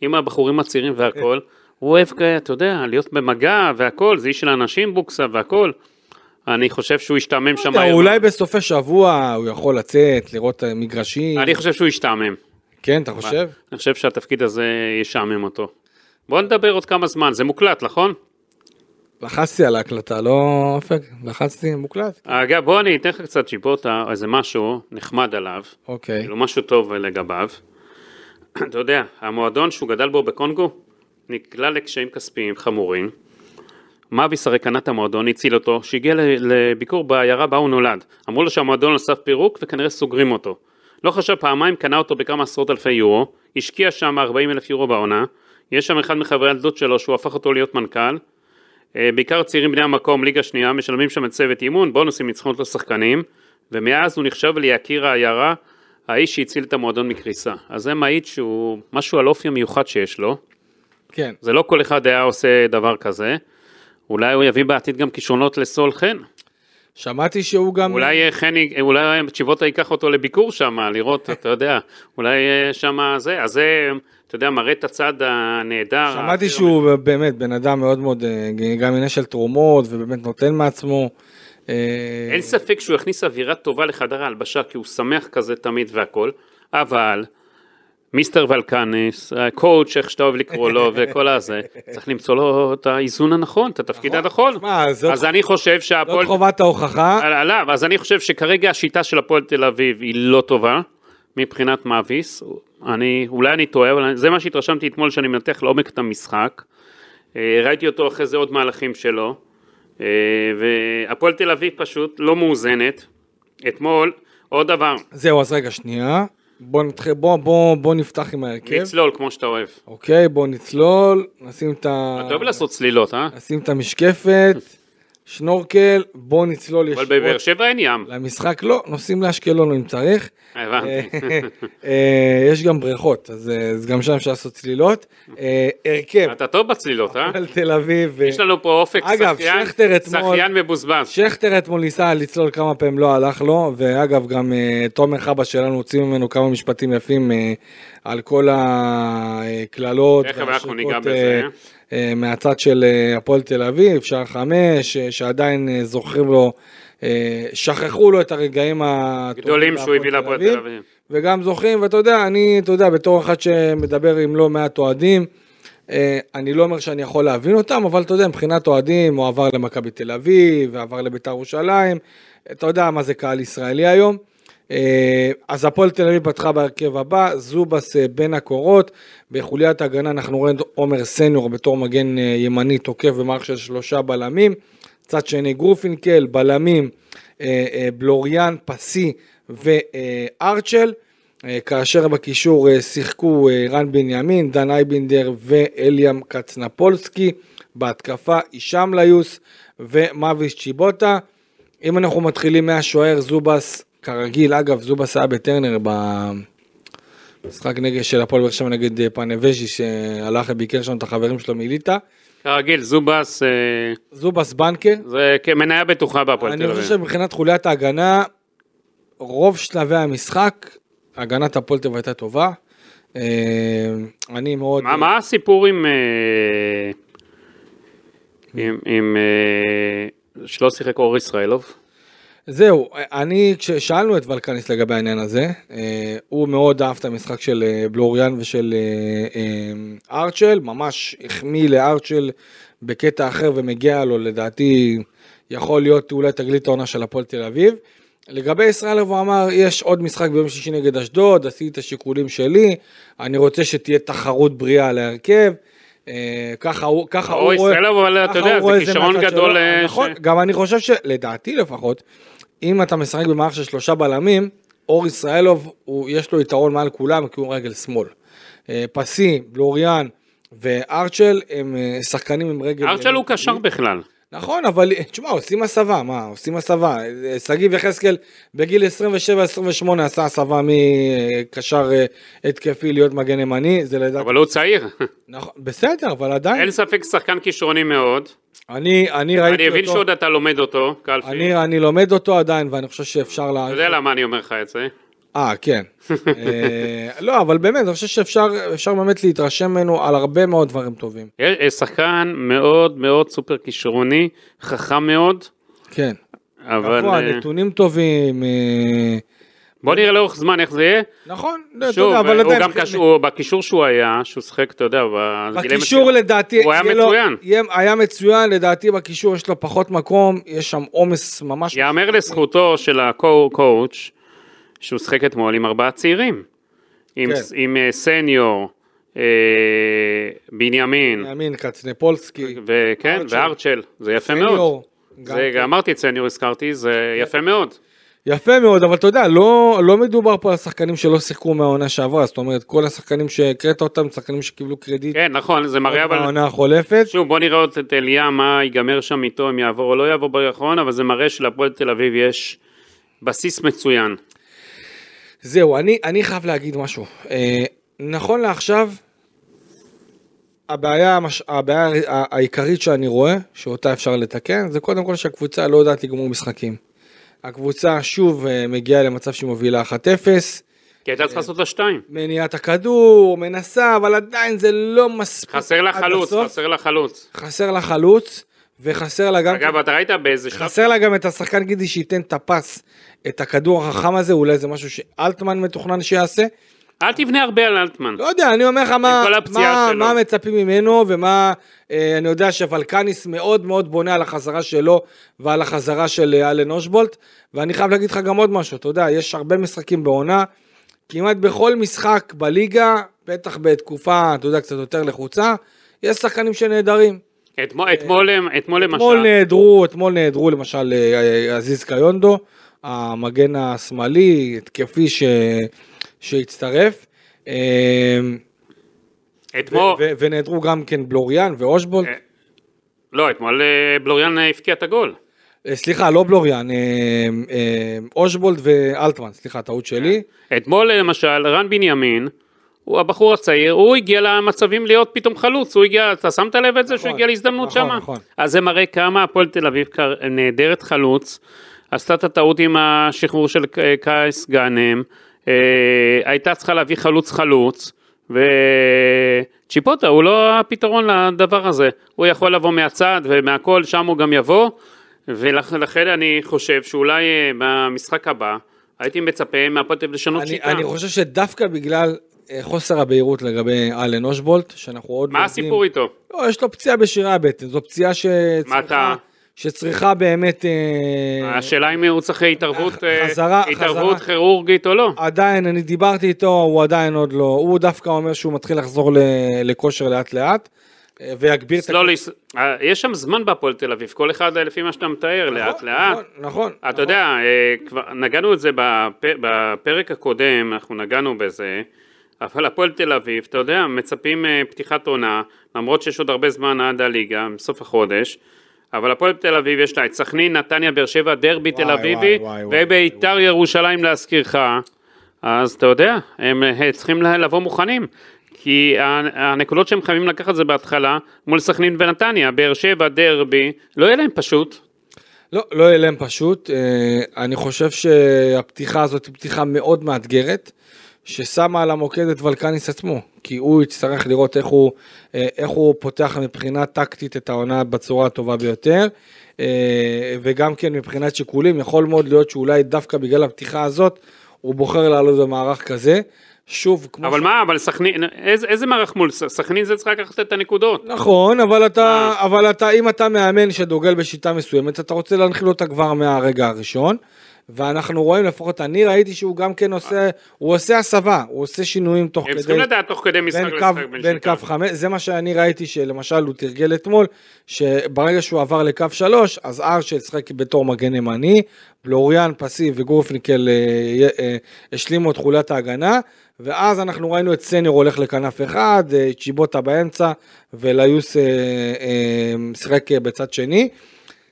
Speaker 3: עם הבחורים הצעירים והכל, הוא אוהב כאלה, אתה יודע, להיות במגע והכל, זה איש של אנשים בוקסה והכל. אני חושב שהוא השתעמם שם היום.
Speaker 2: אולי בסופי שבוע הוא יכול לצאת, לראות אה, מגרשים.
Speaker 3: אני חושב שהוא השתעמם.
Speaker 2: כן, אתה חושב?
Speaker 3: אני חושב שהתפקיד הזה ישעמם אותו. בוא נדבר עוד כמה זמן, זה מוקלט, נכון?
Speaker 2: לחצתי על ההקלטה, לא עופר? לחצתי, מוקלט?
Speaker 3: אגב, בוא אני אתן לך קצת שיבוטה, איזה משהו נחמד עליו,
Speaker 2: אוקיי.
Speaker 3: כאילו משהו טוב לגביו. אתה יודע, המועדון שהוא גדל בו בקונגו, נקלע לקשיים כספיים חמורים. מאביס הרי קנה את המועדון, הציל אותו, שהגיע ל- לביקור בעיירה בה הוא נולד. אמרו לו שהמועדון על סף פירוק וכנראה סוגרים אותו. לא חשב פעמיים, קנה אותו בכמה עשרות אלפי יורו, השקיע שם 40 אלף יורו בעונה, יש שם אחד מחברי הילדות שלו שהוא הפך אותו להיות מנכ"ל, אה, בעיקר צעירים בני המקום, ליגה שנייה, משלמים שם את צוות אימון, בונוסים ניצחונות לשחקנים, ומאז הוא נחשב ליקיר העיירה, האיש שהציל את המועדון מקריסה. אז זה מעיד שהוא משהו על אופי המיוחד שיש לו.
Speaker 2: כן.
Speaker 3: זה לא כל אחד היה עושה דבר כזה. אולי הוא יביא בעתיד גם כישרונות לסול חן.
Speaker 2: שמעתי שהוא גם...
Speaker 3: אולי אה, חני, אה, אולי צ'יבוטה ייקח אותו לביקור שם, לראות, אתה יודע, אולי אה, שם זה, אז זה, אתה יודע, מראה את הצד הנהדר.
Speaker 2: שמעתי
Speaker 3: האפיר
Speaker 2: שהוא באמת בן אדם מאוד מאוד, אה, גם עניין של תרומות, ובאמת נותן מעצמו. אה,
Speaker 3: אין ספק שהוא הכניס אווירה טובה לחדר ההלבשה, כי הוא שמח כזה תמיד והכל, אבל מיסטר ולקניס, הקואוצ' איך שאתה אוהב לקרוא לו וכל הזה, צריך למצוא לו את האיזון הנכון, את התפקיד הנכון.
Speaker 2: מה, נכון. זאת-
Speaker 3: אז אני חושב
Speaker 2: זאת
Speaker 3: שהפועל...
Speaker 2: לא חובת ההוכחה.
Speaker 3: על- עליו, אז אני חושב שכרגע השיטה של הפועל תל אביב היא לא טובה מבחינת מאביס. אני, אולי אני טועה, אבל אני- זה מה שהתרשמתי אתמול שאני מנתח לעומק את המשחק. אה, ראיתי אותו אחרי זה עוד מהלכים שלו. אה, והפועל תל אביב פשוט לא מאוזנת. אתמול, עוד דבר,
Speaker 2: זהו, אז רגע, שנייה. בוא נתחיל, בוא, בוא, בוא נפתח עם ההרכב.
Speaker 3: לצלול כמו שאתה אוהב.
Speaker 2: אוקיי, בוא נצלול, נשים את ה...
Speaker 3: אתה אוהב לעשות צלילות, אה?
Speaker 2: נשים את המשקפת, שנורקל, בוא נצלול
Speaker 3: אבל בבאר
Speaker 2: ישירות
Speaker 3: שבע אין ים.
Speaker 2: למשחק. לא, נוסעים לאשקלון אם צריך.
Speaker 3: הבנתי.
Speaker 2: אה, יש גם בריכות, אז אה, אז גם שם אפשר לעשות צלילות. אה, הרכב,
Speaker 3: אתה טוב בצלילות, אה?
Speaker 2: על תל אביב. אה,
Speaker 3: יש לנו פה אופק
Speaker 2: אגב,
Speaker 3: שחיין-
Speaker 2: שכטר אתמול-
Speaker 3: שחיין מבוזבז.
Speaker 2: שכטר אתמול ניסה לצלול כמה פעמים, לא הלך לו, ואגב, גם אה, תומר חבא שלנו הוציא ממנו כמה משפטים יפים אה, על כל הקללות.
Speaker 3: תכף אנחנו
Speaker 2: והשריקות,
Speaker 3: ניגע בזה.
Speaker 2: אה, אה, מהצד של אה, הפועל תל אביב, שער חמש, אה, שעדיין אה, זוכרים לו, אה, שכחו לו את הרגעים הטובים
Speaker 3: גדולים שהוא
Speaker 2: בהפועל
Speaker 3: הביא להפועל תל אביב.
Speaker 2: וגם זוכרים, ואתה יודע, אני, אתה יודע, בתור אחד שמדבר עם לא מעט אוהדים, אה, אני לא אומר שאני יכול להבין אותם, אבל אתה יודע, מבחינת אוהדים, הוא עבר למכבי תל אביב, ועבר לביתר ירושלים, אתה יודע מה זה קהל ישראלי היום. אה, אז הפועל תל אביב פתחה בהרכב הבא, זובס אה, בין הקורות, בחוליית ההגנה אנחנו רואים את עומר סניור בתור מגן אה, ימני תוקף במערכת של שלושה בלמים, צד שני גרופינקל, בלמים, אה, אה, בלוריאן, פסי וארצ'ל. אה, כאשר בקישור אה, שיחקו אה, רן בנימין, דן אייבינדר ואליאם קצנפולסקי, בהתקפה הישאם ליוס ומאביס צ'יבוטה. אם אנחנו מתחילים מהשוער זובס, כרגיל, אגב, זובס היה בטרנר במשחק נגד של הפועל באר שבע נגד אה, פאנבז'י, שהלך וביקר שם את החברים שלו מליטא.
Speaker 3: כרגיל, זובס, אה,
Speaker 2: זובס בנקה.
Speaker 3: זה כמניה בטוחה בהפועל
Speaker 2: אני
Speaker 3: תל
Speaker 2: חושב
Speaker 3: אביב.
Speaker 2: שמבחינת חוליית ההגנה, רוב שלבי המשחק, הגנת הפועל תל אביב הייתה טובה. אה, אני מאוד...
Speaker 3: מה- מה הסיפור עם... אה, עם- עם... אה, שלא שיחק אור ישראלוב?
Speaker 2: כן, זהו, אני, כששאלנו את ולקניס לגבי העניין הזה, אה, הוא מאוד אהב את המשחק של אה, בלוריאן ושל אה, אה, ארצ'ל, ממש החמיא לארצ'ל בקטע אחר ומגיע לו, לדעתי, יכול להיות אולי תגלית העונה של הפועל תל אביב. לגבי ישראל הוא אמר, יש עוד משחק ביום שישי נגד אשדוד, עשיתי את השיקולים שלי, אני רוצה שתהיה תחרות בריאה על ההרכב. אה, ככה הוא, ככה
Speaker 3: או
Speaker 2: הוא רואה,
Speaker 3: ישראלוב, אבל אתה
Speaker 2: ככה
Speaker 3: יודע,
Speaker 2: הוא
Speaker 3: זה
Speaker 2: רואה את
Speaker 3: כישרון
Speaker 2: מהצד
Speaker 3: גדול,
Speaker 2: שלו.
Speaker 3: אה, ש-
Speaker 2: נכון, גם אני חושב ש... לדעתי לפחות, אם אתה משחק במערך של שלושה בלמים, אור ישראלוב, הוא, יש לו יתרון מעל כולם, כי הוא רגל שמאל. אה, פסי, בלוריאן וארצ'ל הם אה, שחקנים עם רגל...
Speaker 3: ארצ'ל הוא
Speaker 2: ימין.
Speaker 3: קשר בכלל.
Speaker 2: נכון, אבל אה, תשמע, עושים הסבה, מה, עושים הסבה. אה, שגיב יחזקאל בגיל 27-28 עשה הסבה מקשר אה, התקפי להיות מגן ימני, זה לדעתי...
Speaker 3: אבל הוא צעיר.
Speaker 2: נכון, בסדר, אבל עדיין,
Speaker 3: אין ספק שחקן כישרוני מאוד.
Speaker 2: אני, אני ראיתי אותו...
Speaker 3: אני מבין שעוד אתה לומד אותו, קלפי.
Speaker 2: אני, אני לומד אותו עדיין, ואני חושב שאפשר לה...
Speaker 3: אתה יודע למה אני אומר לך את זה.
Speaker 2: אה, כן. אה, לא, אבל באמת, אני חושב שאפשר אפשר באמת להתרשם ממנו על הרבה מאוד דברים טובים.
Speaker 3: יש- יש שחקן מאוד מאוד סופר כישרוני, חכם מאוד,
Speaker 2: כן.
Speaker 3: אבל
Speaker 2: נכון,
Speaker 3: אה,
Speaker 2: נתונים טובים. אה,
Speaker 3: בוא נראה לאורך זמן איך זה יהיה.
Speaker 2: נכון, לא, אתה
Speaker 3: שוב, אה,
Speaker 2: יודע, אבל
Speaker 3: הוא
Speaker 2: עדיין...
Speaker 3: גם קשור, בקישור שהוא היה, שהוא שיחק, אתה יודע, בגילאים
Speaker 2: בקישור
Speaker 3: הצעירים.
Speaker 2: לדעתי,
Speaker 3: הוא היה
Speaker 2: יהיה לו-
Speaker 3: מצוין.
Speaker 2: יהיה- היה מצוין, לדעתי בקישור יש לו פחות מקום, יש שם עומס ממש...
Speaker 3: יאמר לזכותו של הקואוץ' שהוא שיחק אתמול עם ארבעה צעירים. עם,
Speaker 2: כן.
Speaker 3: עם אה, סניור, אה, בנימין,
Speaker 2: ימין, קצנפולסקי,
Speaker 3: וכן,
Speaker 2: אה, ארצ'ל.
Speaker 3: וארצ'ל. זה יפה מאוד.
Speaker 2: סניור. גם כן.
Speaker 3: זה, גם אמרתי את סניור, הזכרתי, זה יפה מאוד.
Speaker 2: יפה מאוד, אבל אתה יודע, לא, לא מדובר פה על שחקנים שלא שיחקו מהעונה שעברה, זאת אומרת, כל השחקנים שהקראת אותם, שחקנים שקיבלו קרדיט
Speaker 3: כן, נכון, זה מראה אבל...
Speaker 2: מהעונה החולפת.
Speaker 3: שוב, בוא נראה עוד את אליה, מה ייגמר שם איתו, אם יעבור או לא יעבור בגרחון, אבל זה מראה שלפועל תל אביב יש בסיס מצוין.
Speaker 2: זהו, אני, אני חייב להגיד משהו. אה, נכון לעכשיו, הבעיה, המש, הבעיה ה- העיקרית שאני רואה, שאותה אפשר לתקן, זה קודם כל שהקבוצה לא יודעת לגמור משחקים. הקבוצה שוב אה, מגיעה למצב שהיא מובילה 1-0,
Speaker 3: כי הייתה
Speaker 2: אה,
Speaker 3: צריכה לעשות לה שתיים.
Speaker 2: מניעת הכדור, מנסה, אבל עדיין זה לא מספיק.
Speaker 3: חסר לה
Speaker 2: עד
Speaker 3: חלוץ,
Speaker 2: הסוף.
Speaker 3: חסר לה חלוץ.
Speaker 2: חסר לה חלוץ, וחסר לה גם...
Speaker 3: אגב, אתה ראית באיזה שלב?
Speaker 2: חסר לה גם את השחקן גידי שייתן את הפס, את הכדור החכם הזה, אולי זה משהו שאלטמן מתוכנן שיעשה.
Speaker 3: אל תבנה הרבה על אלטמן.
Speaker 2: לא יודע, אני אומר לך מה,
Speaker 3: כל הפציעה
Speaker 2: מה,
Speaker 3: שלו.
Speaker 2: מה מצפים ממנו, ומה... אה, אני יודע שוולקניס מאוד מאוד בונה על החזרה שלו ועל החזרה של אה, אלן אושבולט, ואני חייב להגיד לך גם עוד משהו, אתה יודע, יש הרבה משחקים בעונה, כמעט בכל משחק בליגה, בטח בתקופה, אתה יודע, קצת יותר לחוצה, יש שחקנים שנעדרים.
Speaker 3: אתמול- אתמול הם- אתמול
Speaker 2: אה, אתמול
Speaker 3: למשל,
Speaker 2: נעדרו, אתמול נעדרו למשל אה, אה, עזיז קיונדו, המגן השמאלי, התקפי ש... שהצטרף. אה,
Speaker 3: אתמול,
Speaker 2: ו- ונעדרו גם כן בלוריאן ואושבולט.
Speaker 3: אה. לא, אתמול אה, בלוריאן אה, הבקיע את הגול.
Speaker 2: אה, סליחה, לא בלוריאן, אה, אה, אושבולט ואלטמן, סליחה,
Speaker 3: אה,
Speaker 2: טעות שלי.
Speaker 3: אתמול אה, למשל, רן בנימין, הוא הבחור הצעיר, הוא הגיע למצבים להיות פתאום חלוץ, הוא הגיע, אתה שמת לב את זה שהוא
Speaker 2: נכון,
Speaker 3: הגיע להזדמנות
Speaker 2: נכון,
Speaker 3: שמה?
Speaker 2: נכון.
Speaker 3: אז זה מראה כמה הפועל תל אביב כר- נעדרת חלוץ, עשתה את הטעות עם השחרור של ק- קייס גאנם, אה, הייתה צריכה להביא חלוץ חלוץ, וצ'יפוטה הוא לא הפתרון לדבר הזה, הוא יכול לבוא מהצד ומהכל, שם הוא גם יבוא, ולכן אני חושב שאולי אה, במשחק הבא, הייתי מצפה מהפועל תל אביב לשנות
Speaker 2: אני,
Speaker 3: שיטה.
Speaker 2: אני חושב שדווקא בגלל אה, חוסר הבהירות לגבי אלן אושבולט, שאנחנו עוד
Speaker 3: מה
Speaker 2: לא
Speaker 3: הסיפור איתו?
Speaker 2: לא, יש לו פציעה בשירי הבטן, זו פציעה
Speaker 3: מה אתה-
Speaker 2: שצריכה, שצריכה באמת... אה,
Speaker 3: השאלה אם הוא צריך התערבות, אה,
Speaker 2: חזרה-
Speaker 3: התערבות
Speaker 2: חזרה.
Speaker 3: כירורגית או לא.
Speaker 2: עדיין, אני דיברתי איתו, הוא עדיין עוד לא, הוא דווקא אומר שהוא מתחיל לחזור ל- לכושר לאט לאט, אה, ויגביר את...
Speaker 3: לא, להס- אה, יש שם זמן בהפועל תל אביב, כל אחד אה, לפי מה שאתה מתאר, לאט
Speaker 2: נכון,
Speaker 3: לאט.
Speaker 2: נכון, נכון.
Speaker 3: אתה יודע, אה, כבר נגענו את זה בפ- בפרק הקודם, אנחנו נגענו בזה, אבל הפועל תל אביב, אתה יודע, מצפים אה, פתיחת עונה, למרות שיש עוד הרבה זמן עד הליגה, מסוף החודש, אבל הפועל תל אביב יש לה את סכנין, נתניה, באר שבע, דרבי
Speaker 2: וואי,
Speaker 3: תל אביבי,
Speaker 2: וואי, וואי,
Speaker 3: וביתר ירושלים להזכירך, אז אתה יודע, הם אה, צריכים לה- לבוא מוכנים. כי כי ה- הנקודות שהם חייבים לקחת זה בהתחלה, מול סכנין ונתניה, באר שבע, דרבי, לא יהיה להם פשוט.
Speaker 2: לא, לא יהיה להם פשוט. אה, אני חושב שהפתיחה הזאת היא פתיחה מאוד מאתגרת, ששמה על המוקד את ולקניס עצמו, כי הוא יצטרך לראות איך הוא, אה, איך הוא פותח מבחינה טקטית את העונה בצורה הטובה ביותר, אה, וגם כן מבחינת שיקולים, יכול מאוד להיות שאולי דווקא בגלל הפתיחה הזאת, הוא בוחר לעלות במערך כזה. שוב, כמו
Speaker 3: אבל מה, אבל סכנין, איזה, איזה מערך מול ס- סכנין זה צריך לקחת את הנקודות.
Speaker 2: נכון, אבל אתה, אבל אתה, אם אתה מאמן שדוגל בשיטה מסוימת, אתה רוצה להנחיל אותה כבר מהרגע הראשון. ואנחנו רואים, לפחות אני ראיתי שהוא גם כן עושה, הוא עושה הסבה, הוא עושה שינויים תוך
Speaker 3: הם
Speaker 2: כדי...
Speaker 3: צריכים לדעת תוך כדי משחק
Speaker 2: בין
Speaker 3: לשחק
Speaker 2: קו,
Speaker 3: בין
Speaker 2: בין
Speaker 3: שיטה.
Speaker 2: קו חמש, זה מה שאני ראיתי שלמשל הוא תרגל אתמול, שברגע שהוא עבר לקו שלוש, אז ארשל שחק בתור מגן ימני, בלוריאן, פסי וגורפניקל אה, אה, השלימו את חולת ההגנה, ואז אנחנו ראינו את סניור הולך לכנף אחד, אה, צ'יבוטה באמצע, וליוס אה, אה, שיחק אה, בצד שני.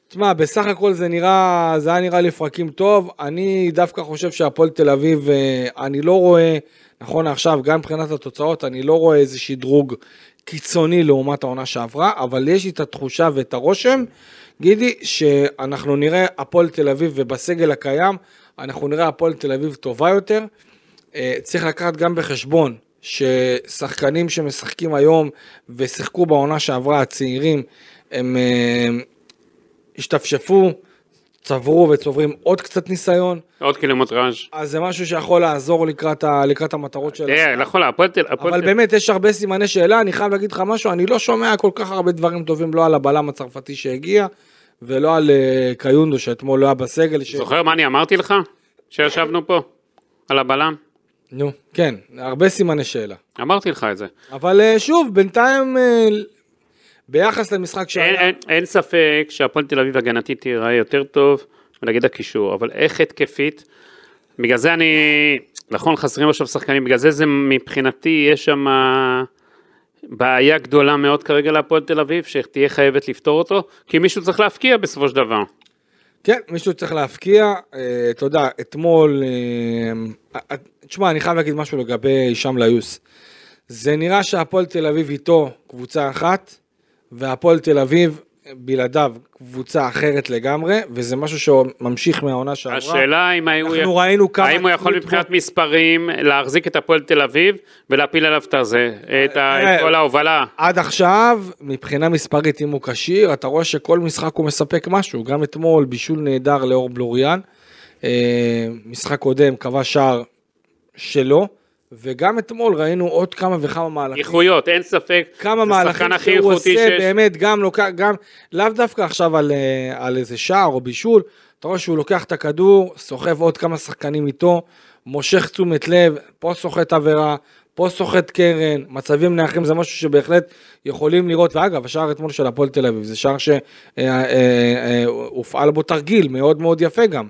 Speaker 2: תשמע, בסך הכל זה נראה, זה היה נראה לפרקים טוב. אני דווקא חושב שהפועל תל אביב, אה, אני לא רואה, נכון עכשיו, גם מבחינת התוצאות, אני לא רואה איזה שדרוג קיצוני לעומת העונה שעברה, אבל יש לי את התחושה ואת הרושם, גידי, שאנחנו נראה הפועל תל אביב, ובסגל הקיים, אנחנו נראה הפועל תל אביב טובה יותר. אה, צריך לקחת גם בחשבון ששחקנים שמשחקים היום ושיחקו בעונה שעברה, הצעירים, הם... אה, השתפשפו, צברו וצוברים עוד קצת ניסיון,
Speaker 3: עוד קילומטראז'.
Speaker 2: אז זה משהו שיכול לעזור לקראת, ה, לקראת המטרות של...
Speaker 3: תראה, נכון, הפועל תל אביב.
Speaker 2: אבל באמת יש הרבה סימני שאלה, אני חייב להגיד לך משהו, אני לא שומע כל כך הרבה דברים טובים, לא על הבלם הצרפתי שהגיע, ולא על אה, קיונדו שאתמול לא היה בסגל. ש...
Speaker 3: זוכר מה אני אמרתי לך? כשישבנו פה, על הבלם?
Speaker 2: נו, כן, הרבה סימני שאלה.
Speaker 3: אמרתי לך את זה.
Speaker 2: אבל אה, שוב, בינתיים, אה, ביחס למשחק
Speaker 3: אין,
Speaker 2: שהיה...
Speaker 3: אין, אין ספק שהפועל תל אביב הגנתית תיראה יותר טוב, נגיד הקישור, אבל איך התקפית? בגלל זה אני, נכון חסרים עכשיו שחקנים, בגלל זה זה מבחינתי יש שם בעיה גדולה מאוד כרגע להפועל תל אביב, שתהיה חייבת לפתור אותו, כי מישהו צריך להפקיע בסופו של דבר.
Speaker 2: כן, מישהו צריך להפקיע, אה, אתה יודע, אתמול, אה, אה, תשמע, אני חייב להגיד משהו לגבי הישאם ליוס. זה נראה שהפועל תל אביב איתו קבוצה אחת, והפועל תל אביב בלעדיו קבוצה אחרת לגמרי, וזה משהו שממשיך מהעונה שעברה.
Speaker 3: השאלה אם הוא,
Speaker 2: אנחנו ראינו כמה...
Speaker 3: האם הוא יכול
Speaker 2: תלות
Speaker 3: מבחינת
Speaker 2: בו-
Speaker 3: מספרים להחזיק את הפועל תל אביב ולהפיל עליו את הזה, את, ה,
Speaker 2: אה,
Speaker 3: את כל ההובלה.
Speaker 2: עד עכשיו, מבחינה מספרית, אם הוא כשיר, אתה רואה שכל משחק הוא מספק משהו. גם אתמול, בישול נהדר לאור בלוריאן. אה, משחק קודם, כבש שער שלו. וגם אתמול ראינו עוד כמה וכמה מהלכים.
Speaker 3: איכויות, אין ספק.
Speaker 2: אה, כמה
Speaker 3: זה
Speaker 2: מהלכים
Speaker 3: השחקן הכי
Speaker 2: שהוא עושה,
Speaker 3: איכותי שיש.
Speaker 2: באמת, גם לוקח, גם, לאו דווקא עכשיו על, אה, על איזה שער או בישול, אתה רואה שהוא לוקח את הכדור, סוחב עוד כמה שחקנים איתו, מושך תשומת לב, פה סוחט עבירה, פה סוחט קרן, מצבים נייחים זה משהו שבהחלט יכולים לראות, ואגב, השער אתמול של הפועל תל אביב, זה שער אה, שהופעל אה, בו תרגיל מאוד מאוד יפה גם,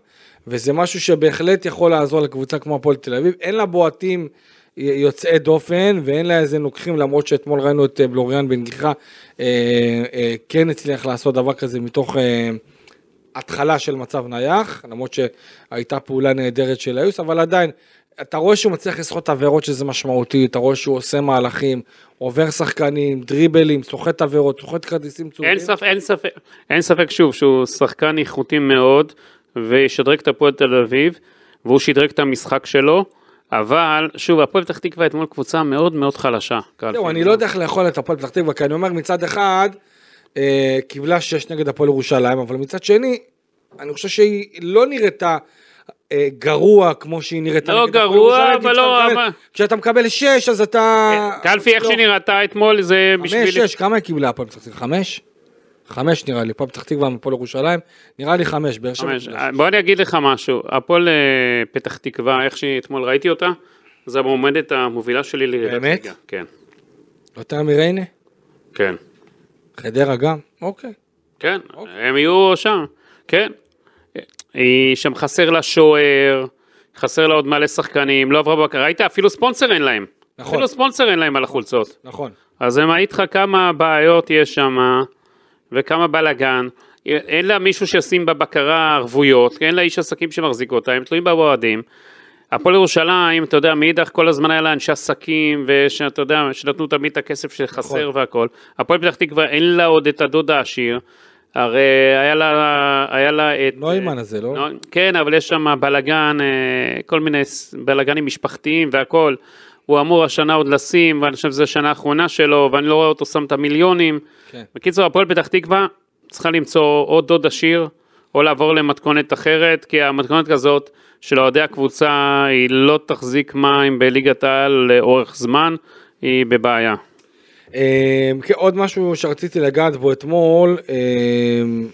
Speaker 2: וזה משהו שבהחלט יכול לעזור לקבוצה כמו הפועל תל אביב, אין לה בועטים. יוצאי דופן ואין לה איזה לוקחים למרות שאתמול ראינו את אה, בלוריאן בנגיחה אה, אה, כן הצליח לעשות דבר כזה מתוך אה, התחלה של מצב נייח למרות שהייתה פעולה נהדרת של היוס אבל עדיין אתה רואה שהוא מצליח לסחוט עבירות שזה משמעותי אתה רואה שהוא עושה מהלכים עובר שחקנים דריבלים סוחט עבירות סוחט כרטיסים צהובים
Speaker 3: אין ספק, אין ספק, אין ספק שוב שהוא שחקן איכותי מאוד וישדרג את הפועל תל אביב והוא שדרג את המשחק שלו, אבל שוב הפועל פתח תקווה אתמול קבוצה מאוד מאוד חלשה. קהל
Speaker 2: זהו, אני
Speaker 3: פינגל.
Speaker 2: לא יודע איך לאכול את הפועל פתח תקווה, כי אני אומר מצד אחד, אה, קיבלה 6 נגד הפועל ירושלים, אבל מצד שני, אני חושב שהיא לא נראתה אה, גרוע כמו שהיא נראתה
Speaker 3: לא
Speaker 2: נגד הפועל
Speaker 3: גרוע,
Speaker 2: ירושלים, כי
Speaker 3: אבל
Speaker 2: כשאתה
Speaker 3: לא,
Speaker 2: מקבל-
Speaker 3: אבל-
Speaker 2: כשאתה מקבל 6, אז אתה...
Speaker 3: אה, קלפי, איך
Speaker 2: לא.
Speaker 3: שהיא נראתה אתמול זה
Speaker 2: חמש,
Speaker 3: בשביל...
Speaker 2: שש, כמה היא קיבלה הפועל פתח תקווה? חמש? חמש נראה לי, הפועל פתח תקווה מהפועל ירושלים, נראה לי חמש, באר שבע.
Speaker 3: חמש. אה.
Speaker 2: קיבלה שש.
Speaker 3: בוא אני אגיד לך משהו, הפועל אה, פתח תקווה, איך שאתמול ראיתי אותה, זו המועמדת המובילה שלי לירידת
Speaker 2: באמת?
Speaker 3: ליגה. כן,
Speaker 2: יותר מריינה?
Speaker 3: כן.
Speaker 2: חדרה גם? אוקיי.
Speaker 3: כן, הם יהיו שם, כן. היא שם חסר לה שוער, חסר לה עוד מלא שחקנים, לא עברה בקרה, ראית? אפילו ספונסר אין להם.
Speaker 2: נכון.
Speaker 3: אפילו ספונסר אין להם על החולצות.
Speaker 2: נכון.
Speaker 3: אז זה מעיד לך כמה בעיות יש שם, וכמה בלאגן. אין לה מישהו שישים בבקרה ערבויות, אין לה איש עסקים שמחזיק אותה, הם תלויים באוהדים. הפועל ירושלים, אתה יודע, מאידך כל הזמן היה לה אנשי עסקים, ושאתה יודע, שנתנו תמיד את הכסף שחסר והכל. הפועל פתח תקווה, אין לה עוד את הדוד העשיר. הרי היה לה, היה לה את...
Speaker 2: נוימן הזה, לא?
Speaker 3: נו- כן, אבל יש שם בלאגן, כל מיני ס- בלאגנים משפחתיים והכול. הוא אמור השנה עוד לשים, ואני חושב שזו השנה האחרונה שלו, ואני לא רואה אותו שם את המיליונים.
Speaker 2: כן.
Speaker 3: בקיצור, הפועל פתח תקווה צריכה למצוא או דוד עשיר, או לעבור למתכונת אחרת, כי המתכונת כזאת של אוהדי הקבוצה, היא לא תחזיק מים בליגת העל לאורך זמן, היא בבעיה.
Speaker 2: אמ, כן, עוד משהו שרציתי לגעת בו אתמול, אמ,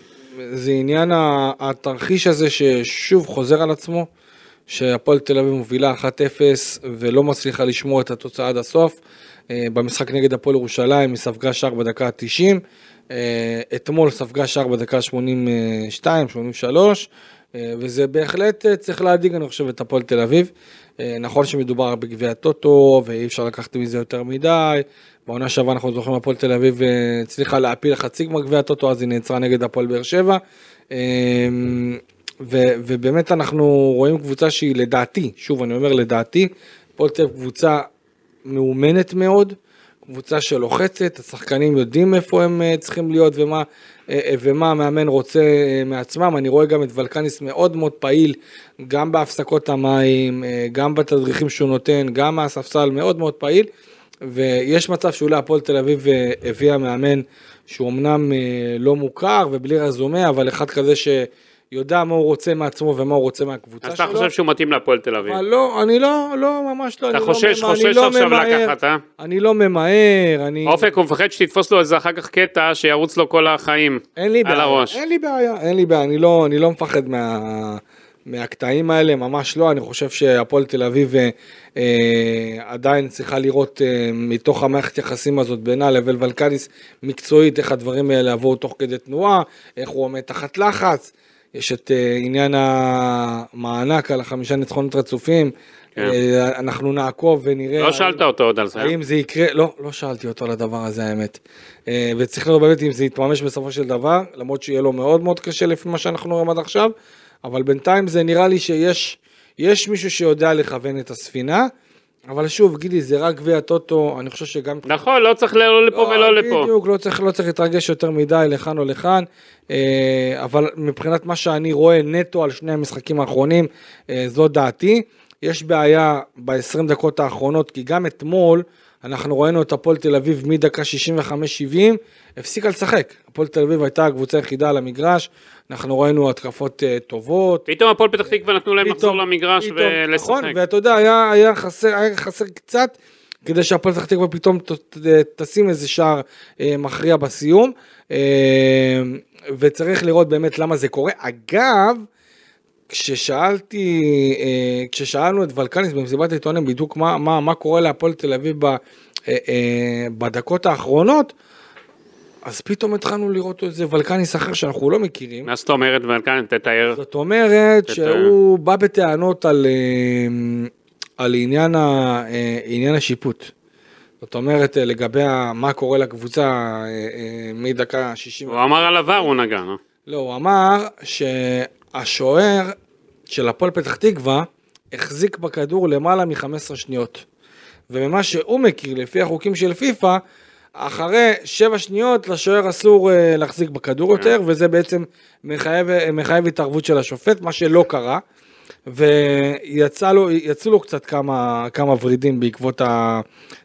Speaker 2: זה עניין ה- התרחיש הזה ששוב חוזר על עצמו, שהפועל תל אביב מובילה 1-0 ולא מצליחה לשמור את התוצאה עד הסוף. אה, במשחק נגד הפועל ירושלים היא ספגה שער בדקה ה-90, אה, אתמול ספגה שער בדקה ה-82-83, וזה בהחלט אה, צריך להדאיג, אני חושב, את הפועל תל אביב. אה, נכון שמדובר בגביע הטוטו, ואי אפשר לקחת מזה יותר מדי. בעונה שעברה אנחנו זוכרים, הפועל תל אביב אה, הצליחה להפיל חצי גמר גביע הטוטו, אז היא נעצרה נגד הפועל באר שבע. אה, ו- ובאמת אנחנו רואים קבוצה שהיא לדעתי, שוב אני אומר לדעתי, הפועל תל אביב קבוצה מאומנת מאוד, קבוצה שלוחצת, השחקנים יודעים איפה הם אה, צריכים להיות ומה, אה, אה, ומה המאמן רוצה אה, מעצמם, אני רואה גם את ולקניס מאוד מאוד פעיל, גם בהפסקות המים, אה, גם בתדריכים שהוא נותן, גם מהספסל מאוד מאוד פעיל. ויש מצב שאולי הפועל תל אביב אה, הביאה מאמן שהוא אמנם אה, לא מוכר ובלי רזומה, אבל אחד כזה שיודע מה הוא רוצה מעצמו ומה הוא רוצה מהקבוצה
Speaker 3: אז
Speaker 2: שלו.
Speaker 3: אתה חושב שהוא מתאים להפועל תל אביב.
Speaker 2: אבל לא, אני לא, לא, ממש לא.
Speaker 3: אתה
Speaker 2: אני
Speaker 3: חושש,
Speaker 2: לא, ממהר, אני
Speaker 3: חושש
Speaker 2: לא
Speaker 3: עכשיו
Speaker 2: ממהר,
Speaker 3: לקחת, אה?
Speaker 2: אני לא ממהר, אני...
Speaker 3: אופק, הוא מפחד שתתפוס לו איזה אחר כך קטע שירוץ לו כל החיים.
Speaker 2: אין לי
Speaker 3: על
Speaker 2: בעיה,
Speaker 3: הראש.
Speaker 2: אין לי בעיה, אין לי בעיה, אני לא, אני לא מפחד מה, מהקטעים האלה, ממש לא, אני חושב שהפועל תל אביב אה, אה, עדיין צריכה לראות אה, מתוך המערכת יחסים הזאת בינה לבין ולקניס מקצועית, איך הדברים האלה עברו תוך כדי תנועה, איך הוא עומד תחת לחץ, יש את אה, עניין המענק על החמישה ניצחונות רצופים,
Speaker 3: כן.
Speaker 2: אה, אנחנו נעקוב ונראה.
Speaker 3: לא שאלת אותו עוד על זה.
Speaker 2: האם זה יקרה? לא, לא שאלתי אותו על הדבר הזה האמת. אה, וצריך לראות באמת אם זה יתממש בסופו של דבר, למרות שיהיה לו מאוד מאוד קשה לפי מה שאנחנו רואים עד עכשיו, אבל בינתיים זה נראה לי שיש יש מישהו שיודע לכוון את הספינה, אבל שוב, גידי, זה רק גביע הטוטו, אני חושב שגם...
Speaker 3: נכון, לא צריך לא לפה ולא לפה.
Speaker 2: בדיוק, לא צריך, לא צריך להתרגש יותר מדי לכאן או לכאן, אה, אבל מבחינת מה שאני רואה נטו על שני המשחקים האחרונים, אה, זו דעתי. יש בעיה ב-20 דקות האחרונות, כי גם אתמול אנחנו ראינו את הפועל תל אביב מדקה 65-70, הפסיקה לשחק. הפועל תל אביב הייתה הקבוצה היחידה על המגרש, אנחנו ראינו התקפות אה, טובות,
Speaker 3: פתאום הפועל פתח תקווה נתנו להם לחזור
Speaker 2: פתאום-
Speaker 3: למגרש
Speaker 2: פתאום, נכון,
Speaker 3: ולשחק.
Speaker 2: ואתה יודע, היה, היה, חסר, היה חסר קצת כדי שהפועל פתח תקווה פתאום ת, ת, תשים איזה שער אה, מכריע בסיום, אה, וצריך לראות באמת למה זה קורה. אגב, כששאלתי, אה, כששאלנו את ולקניס במסיבת העיתונאים בדיוק מה, מה, מה קורה להפועל תל אביב ב, אה, אה, בדקות האחרונות, אז פתאום התחלנו לראות איזה ולקניס אחר שאנחנו לא מכירים.
Speaker 3: מה זאת אומרת, וכאן תתאר.
Speaker 2: זאת אומרת
Speaker 3: את ה-
Speaker 2: שהוא בא בטענות על, אה, על עניין, ה, אה, עניין השיפוט. זאת אומרת, אה, לגבי ה- מה קורה לקבוצה אה, אה, מדקה 60.
Speaker 3: הוא אמר על עבר, הוא נגע. נו.
Speaker 2: לא, הוא אמר שהשוער של הפועל פתח תקווה החזיק בכדור למעלה מ-15 שניות. וממה שהוא מכיר, לפי החוקים של פיפא, אחרי שבע שניות לשוער אסור אה, להחזיק בכדור יותר, וזה בעצם מחייב, אה, מחייב התערבות של השופט, מה שלא קרה. ויצאו לו, יצאו לו קצת כמה, כמה ורידים בעקבות, ה,